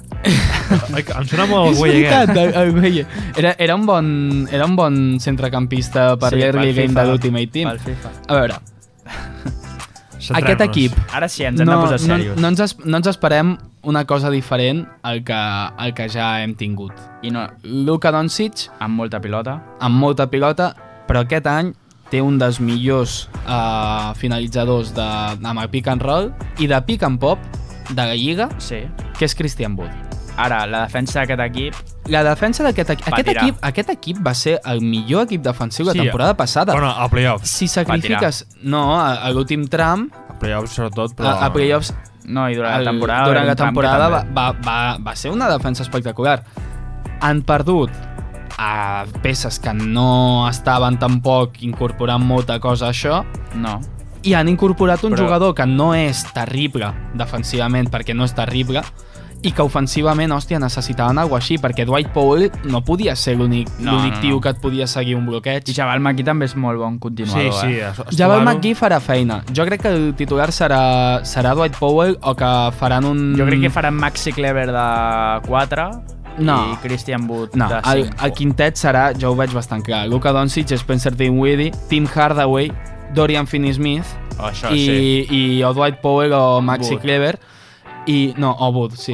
[SPEAKER 3] Ai, que Em sona molt el
[SPEAKER 2] és
[SPEAKER 3] güey, eh.
[SPEAKER 2] veritat, eh.
[SPEAKER 3] aquest.
[SPEAKER 2] el, el Güelle. Era, era, un bon, era un bon centrecampista per sí, l'early game de l'Ultimate Team.
[SPEAKER 1] Pel FIFA.
[SPEAKER 2] A veure,
[SPEAKER 3] Centrem-nos.
[SPEAKER 2] aquest equip
[SPEAKER 1] Ara sí, ens hem de posar
[SPEAKER 2] no,
[SPEAKER 1] serios.
[SPEAKER 2] no ens, es- no ens esperem una cosa diferent al que, al que ja hem tingut.
[SPEAKER 1] I no,
[SPEAKER 2] Luka Doncic,
[SPEAKER 1] amb molta pilota.
[SPEAKER 2] amb molta pilota, però aquest any té un dels millors eh, finalitzadors de, amb el pick and roll i de pick and pop de la Lliga,
[SPEAKER 1] Sí.
[SPEAKER 2] que és Christian Wood.
[SPEAKER 1] Ara, la defensa d'aquest equip...
[SPEAKER 2] La defensa d'aquest equip...
[SPEAKER 1] Va
[SPEAKER 2] Aquest
[SPEAKER 1] tirar.
[SPEAKER 2] equip, aquest equip va ser el millor equip defensiu la
[SPEAKER 3] Sí,
[SPEAKER 2] temporada passada.
[SPEAKER 3] Bueno, a playoffs.
[SPEAKER 2] si sacrifiques... No, a, a l'últim tram,
[SPEAKER 3] A playoffs sobretot, però...
[SPEAKER 2] a, a playoffs,
[SPEAKER 1] No, i durant
[SPEAKER 2] el-
[SPEAKER 1] la temporada...
[SPEAKER 2] durant
[SPEAKER 1] era
[SPEAKER 2] la
[SPEAKER 1] un tram que
[SPEAKER 2] temporada va,
[SPEAKER 1] també-
[SPEAKER 2] va, va, va ser una defensa espectacular. Han perdut a peces que no estaven tampoc incorporant molta cosa a això
[SPEAKER 1] No.
[SPEAKER 2] i han incorporat un
[SPEAKER 1] Però-
[SPEAKER 2] jugador que no és terrible defensivament perquè no és terrible i que ofensivament, hòstia, necessitaven alguna així perquè Dwight Powell no podia ser l'únic
[SPEAKER 1] No,
[SPEAKER 2] l'únic
[SPEAKER 1] no,
[SPEAKER 2] tio
[SPEAKER 1] no.
[SPEAKER 2] que et podia seguir un bloqueig.
[SPEAKER 1] I Jabal Maki també és molt bon
[SPEAKER 3] Sí,
[SPEAKER 1] continuador,
[SPEAKER 3] sí.
[SPEAKER 1] eh?
[SPEAKER 3] es- es
[SPEAKER 2] Jabal
[SPEAKER 3] trobaron-
[SPEAKER 2] McGee farà feina. Jo crec que el titular serà, serà Dwight Powell o que faran un...
[SPEAKER 1] Jo crec que faran Maxi Clever de 4
[SPEAKER 2] No.
[SPEAKER 1] i Christian Wood
[SPEAKER 2] No,
[SPEAKER 1] de 5.
[SPEAKER 2] el, el quintet serà, jo ho veig bastant clar, Luka Doncic, Spencer Dinwiddie, Tim Hardaway, Dorian Finney-Smith
[SPEAKER 1] Oh, això,
[SPEAKER 2] i,
[SPEAKER 1] sí.
[SPEAKER 2] i o Dwight Powell o Maxi
[SPEAKER 1] Wood.
[SPEAKER 2] Kleber i... no, o Wood, sí.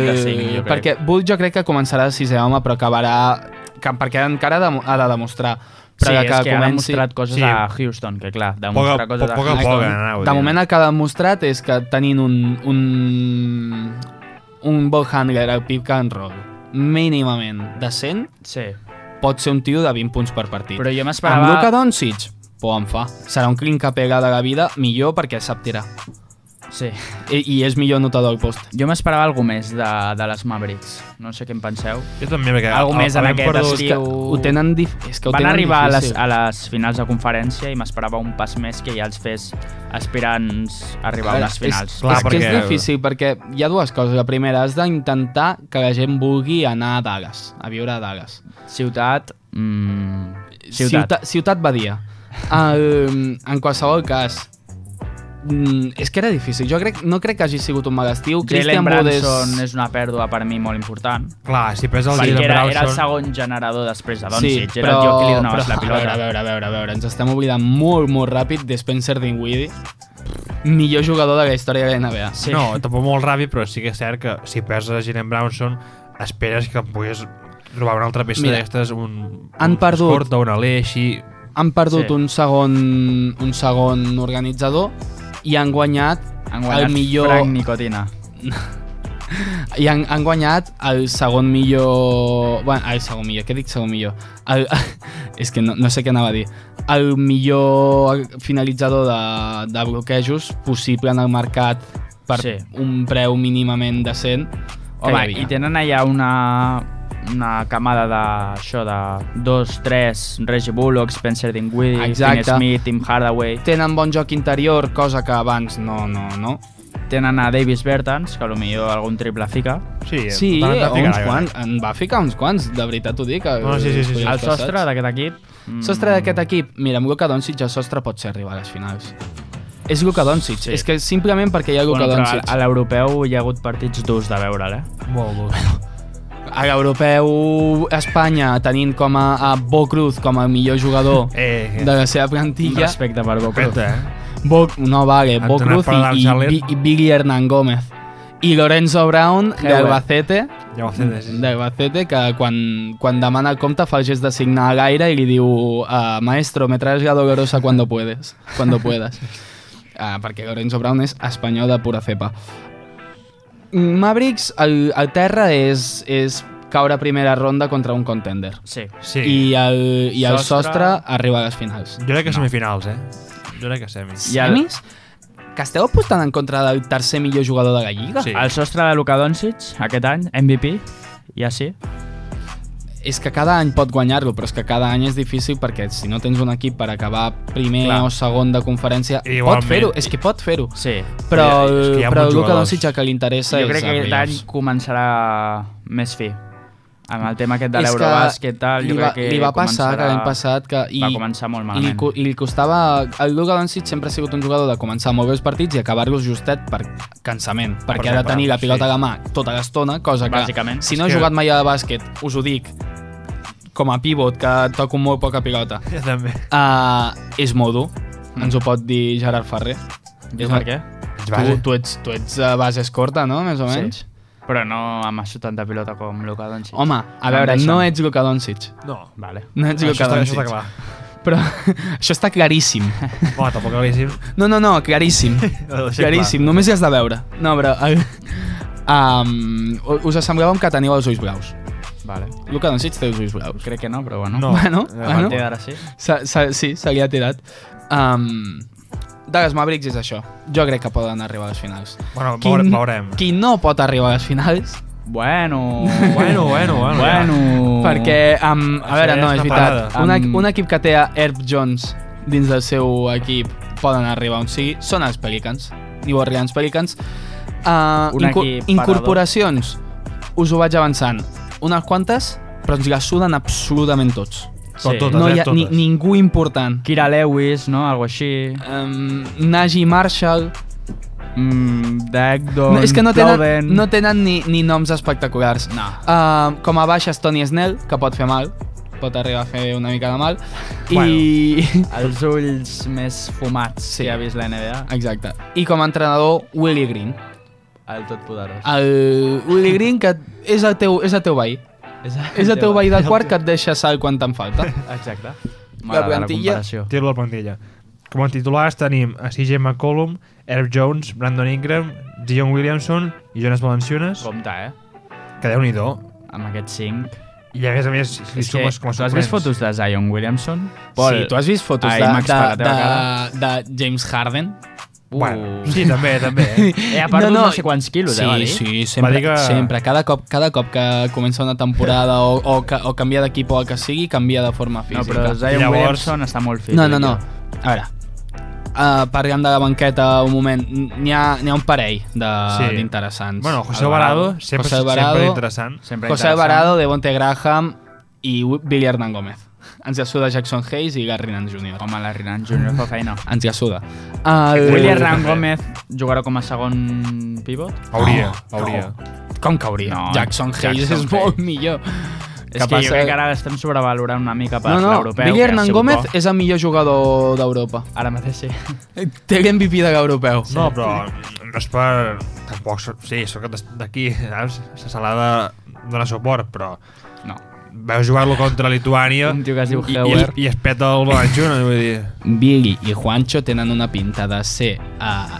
[SPEAKER 1] Wood de cinc, jo crec.
[SPEAKER 2] perquè Wood jo crec que començarà de sisè home, però acabarà... Que, perquè encara ha de, ha de demostrar. Però
[SPEAKER 1] sí,
[SPEAKER 2] de
[SPEAKER 1] és que han demostrat coses
[SPEAKER 3] Sí.
[SPEAKER 1] sí. a Houston, que clar, demostrar
[SPEAKER 3] Poca-
[SPEAKER 1] coses
[SPEAKER 3] po- poca
[SPEAKER 1] a
[SPEAKER 3] a
[SPEAKER 1] Houston...
[SPEAKER 3] poc, anava
[SPEAKER 2] de
[SPEAKER 3] a dir.
[SPEAKER 2] moment el que ha demostrat és que tenint un, un, un ball handler al pick and roll mínimament decent,
[SPEAKER 1] Sí,
[SPEAKER 2] pot ser un tio de 20 punts per partit.
[SPEAKER 1] però jo
[SPEAKER 2] Amb Luka
[SPEAKER 1] m'esperava...
[SPEAKER 2] Doncic, por en fa. Serà un clean que pega de la vida millor perquè sap tirar.
[SPEAKER 1] Sí.
[SPEAKER 2] I, i és millor notador al post.
[SPEAKER 1] Jo m'esperava algú més de, de les Mavericks. No sé què en penseu.
[SPEAKER 3] Jo també, perquè...
[SPEAKER 1] Algo
[SPEAKER 3] el-
[SPEAKER 1] més en
[SPEAKER 3] havent
[SPEAKER 1] aquest
[SPEAKER 3] perdut-
[SPEAKER 1] estil.
[SPEAKER 2] Que
[SPEAKER 1] Diu-
[SPEAKER 2] ho tenen dif... És que ho
[SPEAKER 1] Van
[SPEAKER 2] tenen
[SPEAKER 1] arribar a les,
[SPEAKER 2] difícil.
[SPEAKER 1] a les finals de conferència i m'esperava un pas més que ja els fes aspirants arribar a
[SPEAKER 2] veure,
[SPEAKER 1] unes finals.
[SPEAKER 2] És,
[SPEAKER 3] Clar,
[SPEAKER 2] és que és
[SPEAKER 3] perquè-
[SPEAKER 2] difícil perquè hi ha dues coses. La primera, has d'intentar que la gent vulgui anar a Dallas, a viure a Dallas.
[SPEAKER 1] Ciutat... Mm, ciutat.
[SPEAKER 2] Ciutat, ciutat Badia. El, en qualsevol cas, mm, és que era difícil. Jo crec, no crec que hagi sigut un mal estiu.
[SPEAKER 1] Jalen
[SPEAKER 2] Christian Wood és-
[SPEAKER 1] Branson és una pèrdua per mi molt important.
[SPEAKER 2] eh.
[SPEAKER 3] Clar, si perds el
[SPEAKER 1] perquè
[SPEAKER 3] Jalen
[SPEAKER 1] era, era el
[SPEAKER 3] Brownson...
[SPEAKER 1] segon generador després de Doncic. era el tio que li donaves la
[SPEAKER 2] A
[SPEAKER 1] pilota.
[SPEAKER 2] veure, a veure, a veure, a veure, ens estem oblidant molt, molt ràpid de Spencer Dinwiddie, millor jugador de la història de la NBA.
[SPEAKER 1] Sí.
[SPEAKER 3] No, tampoc molt ràbid, però sí que és cert que si perds a Jalen Brownson, esperes que em puguis trobar una altra peça
[SPEAKER 2] Mira,
[SPEAKER 3] d'aquestes, un,
[SPEAKER 2] han
[SPEAKER 3] un
[SPEAKER 2] perdut.
[SPEAKER 3] escorta, un alè, així...
[SPEAKER 2] Han perdut
[SPEAKER 1] Sí.
[SPEAKER 2] sí. un, segon, un segon organitzador i han guanyat
[SPEAKER 1] Han guanyat
[SPEAKER 2] el millor
[SPEAKER 1] Frank Nicotina.
[SPEAKER 2] i han, han guanyat el segon millor bueno, el segon millor, què dic segon millor el, és que no, no sé què anava a dir el millor finalitzador de, de bloquejos possible en el mercat per
[SPEAKER 1] Sí.
[SPEAKER 2] sí. un preu mínimament decent que hi
[SPEAKER 1] Home,
[SPEAKER 2] havia.
[SPEAKER 1] i tenen allà una, una camada d'això de dos, tres, Reggie Bullock, Spencer Dinwiddie, Finn
[SPEAKER 2] Exacte.
[SPEAKER 1] Smith, Tim Hardaway.
[SPEAKER 2] tenen bon joc interior, cosa que abans no, no, no.
[SPEAKER 1] Tenen a Davis Bertans, que potser algun triple fica.
[SPEAKER 3] Sí,
[SPEAKER 2] Sí, eh,
[SPEAKER 3] van atacar,
[SPEAKER 2] uns
[SPEAKER 3] jo crec.
[SPEAKER 2] quants, en va ficar uns quants, de veritat t'ho dic.
[SPEAKER 3] No, sí, sí, sí, sí.
[SPEAKER 1] El
[SPEAKER 2] els
[SPEAKER 1] sostre
[SPEAKER 2] passats.
[SPEAKER 1] d'aquest equip... mm,
[SPEAKER 2] Sostre d'aquest equip, mira, amb Luka Doncic el sostre pot ser arribar a les finals. És Luka Doncic,
[SPEAKER 1] Sí.
[SPEAKER 2] és que simplement perquè hi ha Luka
[SPEAKER 1] Bueno, però a-
[SPEAKER 2] Doncic.
[SPEAKER 1] a l'europeu hi ha hagut partits durs de veure'l, eh?
[SPEAKER 3] Molt, molt.
[SPEAKER 2] A l'europeu Espanya, tenint com a, a Bo Cruz com a millor jugador
[SPEAKER 3] Eh,
[SPEAKER 2] de la seva
[SPEAKER 1] Un
[SPEAKER 2] plantilla,
[SPEAKER 1] respecte per Boca.
[SPEAKER 3] Respecte, eh?
[SPEAKER 2] Bo, no vale, Bo
[SPEAKER 3] Antonio
[SPEAKER 2] Cruz
[SPEAKER 3] Fernández
[SPEAKER 2] i, i,
[SPEAKER 3] Saler.
[SPEAKER 2] Bi- i Billy Hernán Gómez. I Lorenzo Brown,
[SPEAKER 1] Herbert.
[SPEAKER 2] d'Albacete,
[SPEAKER 3] Ja ho sé, sí.
[SPEAKER 2] d'Albacete que quan, quan demana el compte fa el gest de signar a l'aire i li diu uh, maestro, me traes la dolorosa cuando puedes, cuando puedas. Uh, perquè Lorenzo Brown és espanyol de pura cepa. Mavericks, el, el terra és, és caure a primera ronda contra un contender.
[SPEAKER 1] Sí.
[SPEAKER 3] sí.
[SPEAKER 2] I el, i el
[SPEAKER 1] Sostre.
[SPEAKER 2] sostre, sostre arriba a les finals.
[SPEAKER 3] Jo crec que semifinals, eh? Jo crec que semis.
[SPEAKER 1] I el-
[SPEAKER 2] Semis? Que esteu apostant en contra del tercer millor jugador de la Lliga?
[SPEAKER 3] Sí.
[SPEAKER 1] El sostre de Luka Doncic, aquest any, MVP, ja sí.
[SPEAKER 2] És que cada any pot guanyar-lo, però és que cada any és difícil perquè si no tens un equip per acabar primer
[SPEAKER 1] Clar.
[SPEAKER 2] Clar. o segon de conferència,
[SPEAKER 3] Igualment.
[SPEAKER 2] pot fer-ho, és que pot fer-ho.
[SPEAKER 1] Sí.
[SPEAKER 2] Però,
[SPEAKER 3] És que hi ha
[SPEAKER 2] però
[SPEAKER 3] molts
[SPEAKER 2] el Luka
[SPEAKER 3] jugadors.
[SPEAKER 2] Doncic el que li interessa
[SPEAKER 1] jo crec
[SPEAKER 2] és
[SPEAKER 1] que
[SPEAKER 2] a
[SPEAKER 1] aquest any
[SPEAKER 2] playoffs.
[SPEAKER 1] començarà més fi. Amb el tema aquest de
[SPEAKER 2] És que
[SPEAKER 1] l'Eurobàsquet, tal, jo
[SPEAKER 2] li va,
[SPEAKER 1] crec que
[SPEAKER 2] li va passar que l'any passat que i,
[SPEAKER 1] va començar molt
[SPEAKER 2] i li,
[SPEAKER 1] malament.
[SPEAKER 2] co- i li costava el Luka Doncic sempre ha sigut un jugador de començar molt bé els partits i acabar-los justet per cansament perquè
[SPEAKER 3] Per
[SPEAKER 2] ha de
[SPEAKER 3] exemple,
[SPEAKER 2] tenir la pilota
[SPEAKER 3] sí.
[SPEAKER 2] a la mà tota l'estona cosa que
[SPEAKER 1] Bàsicament.
[SPEAKER 2] si no
[SPEAKER 3] És
[SPEAKER 2] he
[SPEAKER 3] que-
[SPEAKER 2] jugat mai a bàsquet us ho dic com a pivot que toco molt poca pilota
[SPEAKER 3] Jo també.
[SPEAKER 2] Eh,
[SPEAKER 3] Mm.
[SPEAKER 2] uh, és molt dur ens ho pot dir Gerard Ferrer
[SPEAKER 1] Diu per què?
[SPEAKER 3] Vaig,
[SPEAKER 2] Tu,
[SPEAKER 3] vaja.
[SPEAKER 2] tu ets, tu ets a base escorta, no? Més o
[SPEAKER 1] Sí.
[SPEAKER 2] menys.
[SPEAKER 1] Però no amb això tanta pilota com Luka Doncic.
[SPEAKER 2] Home, a
[SPEAKER 1] Em
[SPEAKER 2] veure,
[SPEAKER 1] deixen.
[SPEAKER 2] no ets Luka Doncic.
[SPEAKER 3] No.
[SPEAKER 1] Vale.
[SPEAKER 2] No ets
[SPEAKER 3] Això
[SPEAKER 2] Luka
[SPEAKER 3] està, això està
[SPEAKER 2] Doncic.
[SPEAKER 3] clar.
[SPEAKER 2] Però això està claríssim.
[SPEAKER 3] Home, tampoc claríssim.
[SPEAKER 2] No, no, no, claríssim.
[SPEAKER 3] No, deixem
[SPEAKER 2] claríssim, només hi has de veure. No, però... eh, Um, us semblava que teniu els ulls blaus.
[SPEAKER 1] Vale.
[SPEAKER 2] Luka Doncic té els ulls blaus.
[SPEAKER 1] Crec que no, però bueno.
[SPEAKER 3] No.
[SPEAKER 2] Bueno,
[SPEAKER 3] eh,
[SPEAKER 1] A
[SPEAKER 2] bueno.
[SPEAKER 1] partir d'ara sí.
[SPEAKER 2] Se, se, sí, se li ha tirat. Um, Dallas Mavericks és això. Jo crec que poden arribar a les finals.
[SPEAKER 3] Bueno, veure, veurem.
[SPEAKER 2] qui no pot arribar a les finals,
[SPEAKER 1] Bueno.
[SPEAKER 3] Bueno, bueno, bueno,
[SPEAKER 1] bueno.
[SPEAKER 2] perquè, um, a
[SPEAKER 3] Això
[SPEAKER 2] veure,
[SPEAKER 3] ja
[SPEAKER 2] no, és
[SPEAKER 3] és una Mm.
[SPEAKER 2] veritat,
[SPEAKER 1] parada.
[SPEAKER 2] un,
[SPEAKER 1] Amb-
[SPEAKER 2] um... un equip que té a Herb Jones dins del seu equip poden arribar on sigui, són els Pelicans, New Orleans Pelicans. Uh,
[SPEAKER 1] Un equip parador.
[SPEAKER 2] incorporacions, us ho vaig avançant, unes quantes, però ens les suden absolutament tots.
[SPEAKER 3] Tot,
[SPEAKER 1] Sí.
[SPEAKER 3] totes,
[SPEAKER 2] No
[SPEAKER 3] eh,
[SPEAKER 2] hi ha ni,
[SPEAKER 3] totes.
[SPEAKER 2] ningú important.
[SPEAKER 1] Kira Lewis, no? Algo així.
[SPEAKER 2] Um, Najee Marshall,
[SPEAKER 1] Mm, Dagdon,
[SPEAKER 2] No, és que no
[SPEAKER 1] Plowden.
[SPEAKER 2] tenen, no tenen ni, ni noms espectaculars.
[SPEAKER 1] No.
[SPEAKER 2] Uh, com a baixes, Tony Snell, que pot fer mal. Pot arribar a fer una mica de mal. I...
[SPEAKER 1] Els ulls més fumats
[SPEAKER 2] Sí.
[SPEAKER 1] sí. que ha vist la NBA.
[SPEAKER 2] Exacte. I com a entrenador, Willie Green.
[SPEAKER 1] El totpoderós.
[SPEAKER 2] El Willie Green, que és el teu, és el teu veí.
[SPEAKER 1] És
[SPEAKER 2] És el teu veí del quart que et deixa sal quan te'n falta.
[SPEAKER 1] Exacte.
[SPEAKER 2] La
[SPEAKER 1] M'agrada la,
[SPEAKER 2] plantilla-
[SPEAKER 1] comparació.
[SPEAKER 3] Tiro la plantilla. Com a titulars tenim a CJ McCollum, Herb Jones, Brandon Ingram, Dion Williamson i Jonas Valanciunes,
[SPEAKER 1] Compte, eh?
[SPEAKER 3] que déu nhi
[SPEAKER 1] Amb aquests 5.
[SPEAKER 3] I a més a més, si li sumes com a
[SPEAKER 1] tu has vist
[SPEAKER 3] suplents.
[SPEAKER 1] fotos de Zion Williamson?
[SPEAKER 2] Sí, tu has vist fotos
[SPEAKER 1] Ai,
[SPEAKER 2] de,
[SPEAKER 1] Max, per la
[SPEAKER 2] de,
[SPEAKER 1] teva
[SPEAKER 2] de, de James Harden?
[SPEAKER 1] Uh.
[SPEAKER 3] Bueno, sí, també, també. eh.
[SPEAKER 1] Eh, ha perdut no, no. no sé quants quilos,
[SPEAKER 2] sí,
[SPEAKER 1] eh, va dir?
[SPEAKER 2] Sí,
[SPEAKER 3] Va
[SPEAKER 2] sempre,
[SPEAKER 3] dir que-
[SPEAKER 2] sempre. Cada cop, cada cop que comença una temporada o, o, ca- o canvia d'equip o el que sigui, canvia de forma física.
[SPEAKER 1] No, però Zion
[SPEAKER 3] Llavors-
[SPEAKER 1] Williamson està molt fit.
[SPEAKER 2] No, no, no. A veure, uh, parlem de la banqueta un moment. N- N'hi ha, n'hi ha un parell de-
[SPEAKER 3] Sí.
[SPEAKER 2] d'interessants.
[SPEAKER 3] Bueno, José
[SPEAKER 1] Alvarado.
[SPEAKER 3] Alvarado, sempre,
[SPEAKER 2] José
[SPEAKER 3] sempre
[SPEAKER 2] Alvarado.
[SPEAKER 3] interessant.
[SPEAKER 1] Sempre
[SPEAKER 2] José Alvarado, Devonte Graham i Wi- Billy Hernán Gómez. Ens ja suda Jackson Hayes i Gary Nance Jr.
[SPEAKER 1] Com a la Rinan Junior fa feina.
[SPEAKER 2] Ens ja suda. El...
[SPEAKER 1] William Ram Gómez jugarà com a segon pivot?
[SPEAKER 3] Hauria,
[SPEAKER 2] No,
[SPEAKER 3] hauria.
[SPEAKER 2] Com que hauria?
[SPEAKER 1] No,
[SPEAKER 2] Jackson Hayes
[SPEAKER 1] Jackson
[SPEAKER 2] és
[SPEAKER 1] Hayes.
[SPEAKER 2] molt millor.
[SPEAKER 1] És que jo crec que ara l'estem sobrevalorant una mica per
[SPEAKER 2] No, no,
[SPEAKER 1] l'europeu.
[SPEAKER 2] Billy
[SPEAKER 1] que ha
[SPEAKER 2] Hernán
[SPEAKER 1] sigut
[SPEAKER 2] Gómez
[SPEAKER 1] bo.
[SPEAKER 2] és el millor jugador d'Europa.
[SPEAKER 1] Ara mateix sí.
[SPEAKER 2] Té l'MVP de l'europeu.
[SPEAKER 3] No, però no és per... Tampoc, so- sí, sóc des- d'aquí, saps? Se se l'ha de donar suport, però
[SPEAKER 1] No.
[SPEAKER 3] veu jugar-lo contra Lituània
[SPEAKER 1] Un tio que es diu
[SPEAKER 3] i, i,
[SPEAKER 1] Heuer.
[SPEAKER 3] i es peta el Balanchuna, vull dir...
[SPEAKER 2] Billy i Juancho tenen una pinta de ser uh,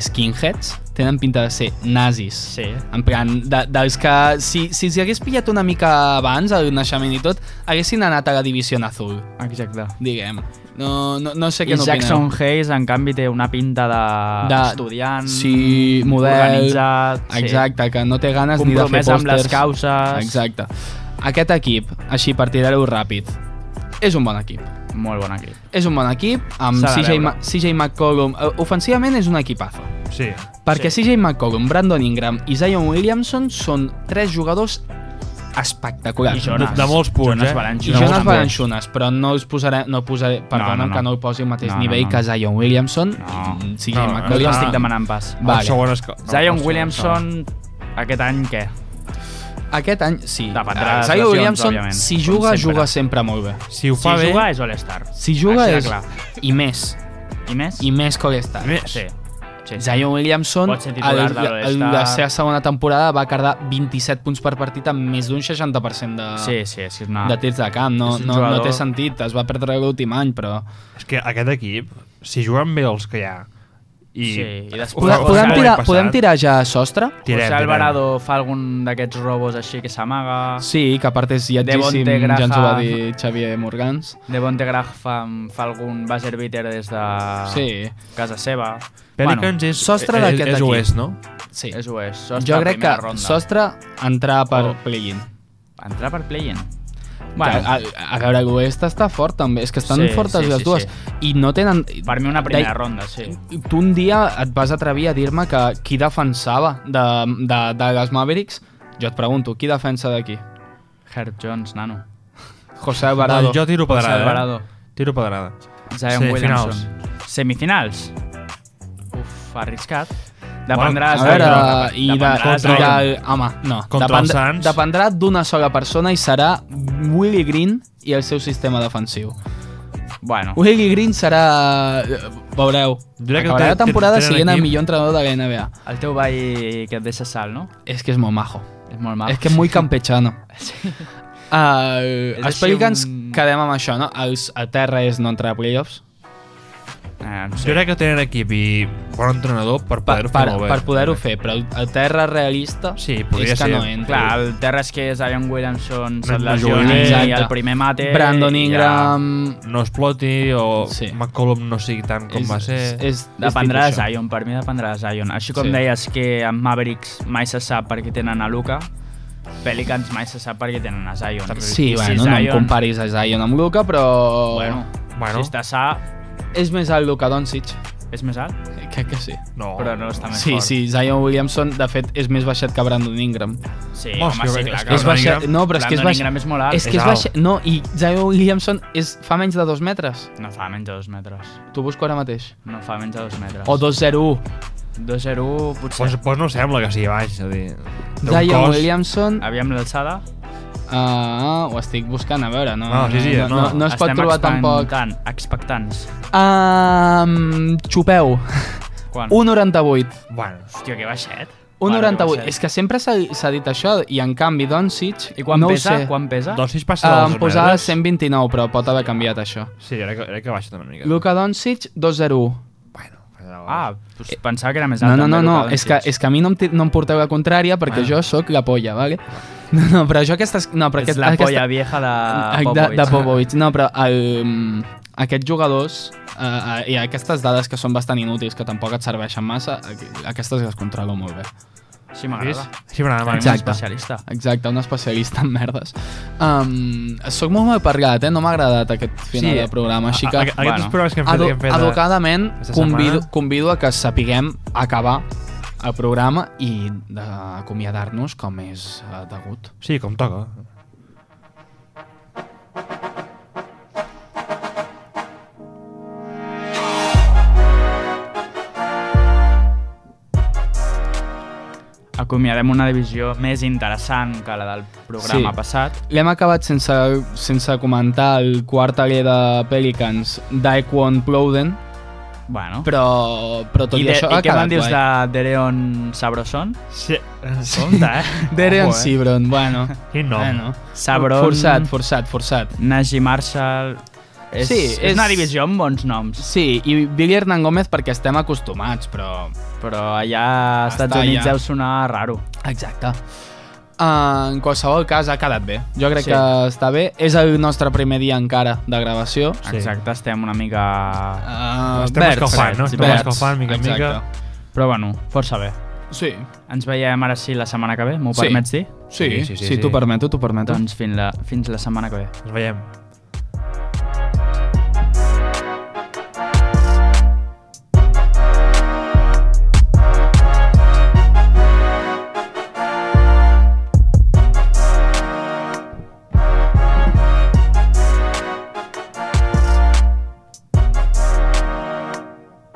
[SPEAKER 2] skinheads, tenen pinta de ser nazis.
[SPEAKER 1] Sí.
[SPEAKER 2] En plan, de, dels que si, si els hi hagués pillat una mica abans el naixement i tot, haguessin anat a la divisió en azul,
[SPEAKER 1] Exacte.
[SPEAKER 2] diguem. No, no, no sé
[SPEAKER 1] I
[SPEAKER 2] què n'opineu.
[SPEAKER 1] Jackson ah, Hayes, en canvi, té una pinta
[SPEAKER 2] De-
[SPEAKER 1] d'estudiant,
[SPEAKER 2] sí, model,
[SPEAKER 1] organitzat,
[SPEAKER 2] Exacte, que no té
[SPEAKER 1] sí.
[SPEAKER 2] ganes ni de fer
[SPEAKER 1] compromès
[SPEAKER 2] pòsters.
[SPEAKER 1] amb les causes.
[SPEAKER 2] Exacte. Aquest equip, així partidareu ràpid, és un bon equip.
[SPEAKER 1] Molt bon equip.
[SPEAKER 2] És un bon equip, amb
[SPEAKER 1] S'ha de
[SPEAKER 2] CJ,
[SPEAKER 1] veure.
[SPEAKER 2] Ma- CJ McCollum. Eh, Ofensivament és un equipazo.
[SPEAKER 3] Sí,
[SPEAKER 2] Perquè sí. CJ McCollum, Brandon Ingram i Zion Williamson són tres jugadors espectaculars.
[SPEAKER 1] I Jonas.
[SPEAKER 3] De- de molts punts,
[SPEAKER 1] Jonas
[SPEAKER 3] eh?
[SPEAKER 2] I
[SPEAKER 1] Valanciunes
[SPEAKER 2] Jonas
[SPEAKER 1] també.
[SPEAKER 2] Balanchunas, però no us posaré, no posaré, perdona'm
[SPEAKER 1] no, no.
[SPEAKER 2] que no ho posi al mateix
[SPEAKER 1] No, no,
[SPEAKER 2] nivell
[SPEAKER 1] no.
[SPEAKER 2] que Zion Williamson
[SPEAKER 1] No.
[SPEAKER 2] i CJ
[SPEAKER 3] No, no,
[SPEAKER 1] No
[SPEAKER 2] McCollum.
[SPEAKER 1] li
[SPEAKER 3] Ah.
[SPEAKER 1] estic demanant pas.
[SPEAKER 2] Vale.
[SPEAKER 3] el segon és... que- no, el
[SPEAKER 1] Zion
[SPEAKER 3] segon,
[SPEAKER 1] Williamson, aquest any què?
[SPEAKER 2] Aquest any, sí. Eh,
[SPEAKER 1] Dependrà de les
[SPEAKER 2] Zion
[SPEAKER 1] lesions,
[SPEAKER 2] Williamson,
[SPEAKER 1] òbviament,
[SPEAKER 2] si
[SPEAKER 1] com
[SPEAKER 2] juga,
[SPEAKER 1] sempre.
[SPEAKER 2] juga sempre molt bé.
[SPEAKER 3] Si ho
[SPEAKER 1] Si
[SPEAKER 3] fa bé...
[SPEAKER 1] juga és All-Star.
[SPEAKER 2] Si juga
[SPEAKER 1] Així de
[SPEAKER 2] és...
[SPEAKER 1] clar.
[SPEAKER 2] I més.
[SPEAKER 1] I més?
[SPEAKER 2] I més que està.
[SPEAKER 3] I més.
[SPEAKER 1] Sí. sí. sí.
[SPEAKER 2] Zion Williamson,
[SPEAKER 1] Pot ser titular de
[SPEAKER 2] el-
[SPEAKER 1] l'All-Star.
[SPEAKER 2] el- la seva segona temporada va cardar 27 punts per partit amb més d'un 60% de,
[SPEAKER 1] Sí, sí, és que és una...
[SPEAKER 2] de tirs de camp. No,
[SPEAKER 1] És un
[SPEAKER 2] no, no
[SPEAKER 1] jugador-
[SPEAKER 2] té sentit, es va perdre l'últim any, però...
[SPEAKER 3] És que aquest equip, si juguen bé els que hi ha... I...
[SPEAKER 1] Sí, i després-
[SPEAKER 3] Ho fa-
[SPEAKER 1] Podem-
[SPEAKER 2] Podem, podem,
[SPEAKER 3] ho fa l'any
[SPEAKER 2] tirar,
[SPEAKER 3] passat.
[SPEAKER 2] podem tirar ja a sostre?
[SPEAKER 3] Tirem,
[SPEAKER 1] José
[SPEAKER 3] tirem.
[SPEAKER 1] Alvarado fa algun d'aquests robos així que s'amaga.
[SPEAKER 2] Sí, que a part és
[SPEAKER 1] Devonte
[SPEAKER 2] lletgíssim, ja ens ho
[SPEAKER 1] Graham.
[SPEAKER 2] va dir Xavier Morgans.
[SPEAKER 1] Devonte Graham fa, fa algun buzzer beater des de
[SPEAKER 2] Sí,
[SPEAKER 1] casa seva.
[SPEAKER 3] Pelicans és,
[SPEAKER 2] sostre
[SPEAKER 3] és,
[SPEAKER 2] d'aquest
[SPEAKER 3] és
[SPEAKER 2] equip.
[SPEAKER 3] oest, no?
[SPEAKER 2] sí.
[SPEAKER 1] És ho és. Sostre,
[SPEAKER 2] jo crec que
[SPEAKER 1] primera ronda.
[SPEAKER 2] sostre entrar per
[SPEAKER 1] Oh.
[SPEAKER 2] play-in.
[SPEAKER 1] Entrar per play-in.
[SPEAKER 2] Bueno.
[SPEAKER 1] Bueno,
[SPEAKER 2] A, a veure, l'Oest està fort també, és que estan
[SPEAKER 1] Sí,
[SPEAKER 2] fortes
[SPEAKER 1] sí,
[SPEAKER 2] les
[SPEAKER 1] sí,
[SPEAKER 2] dues i no tenen...
[SPEAKER 1] per mi una primera
[SPEAKER 2] Dai-
[SPEAKER 1] ronda, sí.
[SPEAKER 2] Tu un dia et vas atrevir a dir-me que qui defensava de, de, de les Mavericks, jo et pregunto, qui defensa d'aquí?
[SPEAKER 1] Herb Jones, nano.
[SPEAKER 2] José Alvarado.
[SPEAKER 3] No, jo tiro
[SPEAKER 1] José
[SPEAKER 3] pedrada.
[SPEAKER 1] Alvarado.
[SPEAKER 3] Eh? Tiro pedrada.
[SPEAKER 1] Zion
[SPEAKER 3] Sí,
[SPEAKER 1] Williamson.
[SPEAKER 3] finals.
[SPEAKER 1] Semifinals. Uf, arriscat. Dependrà
[SPEAKER 3] Bueno,
[SPEAKER 2] A
[SPEAKER 1] de
[SPEAKER 2] veure,
[SPEAKER 1] Zion.
[SPEAKER 2] i de,
[SPEAKER 1] Dependrà
[SPEAKER 2] contra,
[SPEAKER 1] Zion.
[SPEAKER 2] i de, home, no.
[SPEAKER 3] Contra els Suns.
[SPEAKER 2] dependrà d'una sola persona i serà Willie Green i el seu sistema defensiu.
[SPEAKER 1] Bueno,
[SPEAKER 2] Willie Green serà... eh, Veureu.
[SPEAKER 3] Diré que
[SPEAKER 2] Acabarà
[SPEAKER 3] té-
[SPEAKER 2] la temporada
[SPEAKER 3] tenen
[SPEAKER 2] siguent el
[SPEAKER 3] equip.
[SPEAKER 2] millor entrenador de la NBA.
[SPEAKER 1] el teu ball que et deixa sal, no?
[SPEAKER 2] És que és molt majo.
[SPEAKER 1] És molt mal.
[SPEAKER 2] És que és molt campechano. Uh,
[SPEAKER 1] És
[SPEAKER 2] espero
[SPEAKER 1] així
[SPEAKER 2] que ens
[SPEAKER 1] un-
[SPEAKER 2] quedem amb això, no? Els, a terra és no entrar a playoffs.
[SPEAKER 1] Eh, no
[SPEAKER 3] Jo
[SPEAKER 1] sé.
[SPEAKER 3] crec que tenen equip i bon entrenador per
[SPEAKER 2] Per,
[SPEAKER 3] poder-ho
[SPEAKER 2] per,
[SPEAKER 3] fer molt bé.
[SPEAKER 2] per poder-ho fer, però a terra realista
[SPEAKER 3] Sí, podria
[SPEAKER 2] és que
[SPEAKER 3] ser.
[SPEAKER 2] no entra.
[SPEAKER 1] Clar, el terra és que és Zion Williamson,
[SPEAKER 3] No-
[SPEAKER 1] se't
[SPEAKER 3] no
[SPEAKER 1] lesiona
[SPEAKER 3] juga bé.
[SPEAKER 1] i
[SPEAKER 2] Exacte.
[SPEAKER 1] el primer mate...
[SPEAKER 2] Brandon
[SPEAKER 1] i ja.
[SPEAKER 2] Ingram...
[SPEAKER 3] No exploti o
[SPEAKER 2] Sí.
[SPEAKER 3] sí. McCollum no sigui tant com
[SPEAKER 2] és-
[SPEAKER 3] va ser.
[SPEAKER 2] És, és,
[SPEAKER 1] Dependrà de
[SPEAKER 2] tipus això.
[SPEAKER 1] Zion, per mi dependrà de Zion. Així com
[SPEAKER 2] Sí.
[SPEAKER 1] sí. deies que amb Mavericks mai se sap perquè tenen a Luka, Pelicans mai se sap perquè tenen a Zion.
[SPEAKER 2] Sí,
[SPEAKER 1] I
[SPEAKER 2] bueno, no em comparis a Zion amb Luka, però...
[SPEAKER 1] Bueno, bueno,
[SPEAKER 3] Bueno.
[SPEAKER 1] si està sa,
[SPEAKER 2] És més alt Luka Doncic.
[SPEAKER 1] és més alt,
[SPEAKER 2] Crec que sí.
[SPEAKER 3] No.
[SPEAKER 1] però no està més
[SPEAKER 2] Oh. sí,
[SPEAKER 1] fort.
[SPEAKER 2] sí, Zion Williamson, de fet, és més baixet que Brandon Ingram.
[SPEAKER 1] Sí,
[SPEAKER 3] Oh,
[SPEAKER 1] home,
[SPEAKER 3] és que-
[SPEAKER 1] sí,
[SPEAKER 3] és
[SPEAKER 1] clar.
[SPEAKER 3] que
[SPEAKER 1] És
[SPEAKER 3] és baix- Ingram-
[SPEAKER 2] No, però és que és
[SPEAKER 1] Brandon
[SPEAKER 2] baix...
[SPEAKER 1] Ingram és molt alt.
[SPEAKER 2] És que
[SPEAKER 3] És
[SPEAKER 2] és
[SPEAKER 3] alt.
[SPEAKER 2] baix... No, i Zion Williamson és... fa menys de dos metres.
[SPEAKER 1] No fa menys de dos metres.
[SPEAKER 2] T'ho busco ara mateix.
[SPEAKER 1] No fa menys de dos metres.
[SPEAKER 2] O 2-0-1.
[SPEAKER 1] 2-0 potser.
[SPEAKER 3] Pues, pues no sembla que sigui baix, és a dir... té un
[SPEAKER 2] Zion
[SPEAKER 3] cos-
[SPEAKER 2] Williamson...
[SPEAKER 1] Aviam l'alçada.
[SPEAKER 2] Ah, ho estic buscant, a veure, no...
[SPEAKER 3] No, Ah, sí, sí,
[SPEAKER 2] no,
[SPEAKER 3] no.
[SPEAKER 2] no, no, es pot
[SPEAKER 1] Estem
[SPEAKER 2] trobar tampoc.
[SPEAKER 1] expectant- Expectants.
[SPEAKER 2] Um, xupeu.
[SPEAKER 1] Quan?
[SPEAKER 2] 1,98.
[SPEAKER 3] Bueno,
[SPEAKER 1] Hòstia, que baixet. Vale,
[SPEAKER 2] 1,98.
[SPEAKER 1] que
[SPEAKER 2] És
[SPEAKER 1] baixet.
[SPEAKER 2] que sempre s'ha s'ha dit això, i en canvi Doncic...
[SPEAKER 1] I quan
[SPEAKER 2] no ho
[SPEAKER 1] pesa?
[SPEAKER 2] Sé.
[SPEAKER 1] Quan pesa?
[SPEAKER 3] doncs si es passa
[SPEAKER 2] Ah, em
[SPEAKER 3] dels dos
[SPEAKER 2] posava
[SPEAKER 3] metres-
[SPEAKER 2] 129, però pot haver canviat això.
[SPEAKER 3] Sí, crec que, crec que baixa també una mica.
[SPEAKER 2] Luka Doncic, 2-0.
[SPEAKER 3] Bueno,
[SPEAKER 1] Ah, pues pensava que era més alt.
[SPEAKER 2] No, no, no,
[SPEAKER 1] també,
[SPEAKER 2] no.
[SPEAKER 1] Luka
[SPEAKER 2] És que,
[SPEAKER 1] Doncic.
[SPEAKER 2] és que a mi no em, ti- no em porteu la contrària perquè
[SPEAKER 3] Bueno.
[SPEAKER 2] jo sóc la polla, vale? No, no, però jo aquestes... No, però
[SPEAKER 1] és
[SPEAKER 2] aquest,
[SPEAKER 1] la
[SPEAKER 2] aquesta,
[SPEAKER 1] polla vieja de
[SPEAKER 2] Ah,
[SPEAKER 1] Popovic.
[SPEAKER 2] De, de Popovic. No, però el, mm, aquests jugadors eh, eh, i aquestes dades que són bastant inútils, que tampoc et serveixen massa, aqu- aquestes les controlo molt bé.
[SPEAKER 1] Sí, m'agrada.
[SPEAKER 3] Sí, però nada
[SPEAKER 1] Tenim
[SPEAKER 3] més.
[SPEAKER 1] un
[SPEAKER 2] Exacte.
[SPEAKER 1] especialista.
[SPEAKER 2] Exacte, un especialista en merdes. Um, soc molt mal parlat, eh? No m'ha agradat aquest final
[SPEAKER 1] Sí,
[SPEAKER 2] sí, de programa, així que...
[SPEAKER 3] A- a- Aquests
[SPEAKER 1] bueno,
[SPEAKER 3] programes que hem fet...
[SPEAKER 2] edu-
[SPEAKER 3] que hem fet de-
[SPEAKER 2] educadament
[SPEAKER 3] aquesta
[SPEAKER 2] convido,
[SPEAKER 3] setmana.
[SPEAKER 2] convido a que sapiguem acabar el programa i acomiadar-nos com és eh, degut.
[SPEAKER 3] Sí, com toca.
[SPEAKER 1] Acomiadem una divisió més interessant que la del programa
[SPEAKER 2] Sí.
[SPEAKER 1] passat.
[SPEAKER 2] L'hem acabat sense, sense comentar el quart aler de Pelicans, Daekwon Plowden,
[SPEAKER 1] Bueno.
[SPEAKER 2] però, però tot i,
[SPEAKER 1] I, de,
[SPEAKER 2] això
[SPEAKER 1] i
[SPEAKER 2] ha
[SPEAKER 1] què me'n
[SPEAKER 2] quedat
[SPEAKER 1] dius
[SPEAKER 2] guai.
[SPEAKER 1] de Dereon Sabroson?
[SPEAKER 3] Sí. Compte, eh?
[SPEAKER 2] Dereon
[SPEAKER 3] Ojo, eh?
[SPEAKER 2] Sibron, bueno.
[SPEAKER 3] Quin nom.
[SPEAKER 2] bueno.
[SPEAKER 1] Sabron.
[SPEAKER 2] Forçat, forçat, forçat.
[SPEAKER 1] Najee Marshall... És,
[SPEAKER 2] Sí,
[SPEAKER 1] és una
[SPEAKER 2] és-
[SPEAKER 1] divisió amb bons noms,
[SPEAKER 2] Sí, i Billy Hernán Gómez perquè estem acostumats, però...
[SPEAKER 1] però allà als
[SPEAKER 2] Està
[SPEAKER 1] Estats Units
[SPEAKER 2] allà.
[SPEAKER 1] deu sonar raro.
[SPEAKER 2] Exacte. En qualsevol cas, ha quedat bé. Jo crec
[SPEAKER 1] Sí.
[SPEAKER 2] sí. que està bé. És el nostre primer dia encara de gravació.
[SPEAKER 3] Sí.
[SPEAKER 1] Exacte, estem una mica...
[SPEAKER 2] Uh,
[SPEAKER 3] Estem escalfant, no? Estem escalfant, mica en mica.
[SPEAKER 1] Però bueno, força bé.
[SPEAKER 2] Sí,
[SPEAKER 1] Ens veiem ara sí la setmana que ve, m'ho
[SPEAKER 2] Sí.
[SPEAKER 1] permets dir?
[SPEAKER 2] sí, sí, sí, sí, sí. t'ho permeto, t'ho permeto.
[SPEAKER 1] Doncs fins la, fins la setmana que ve.
[SPEAKER 3] Ens veiem.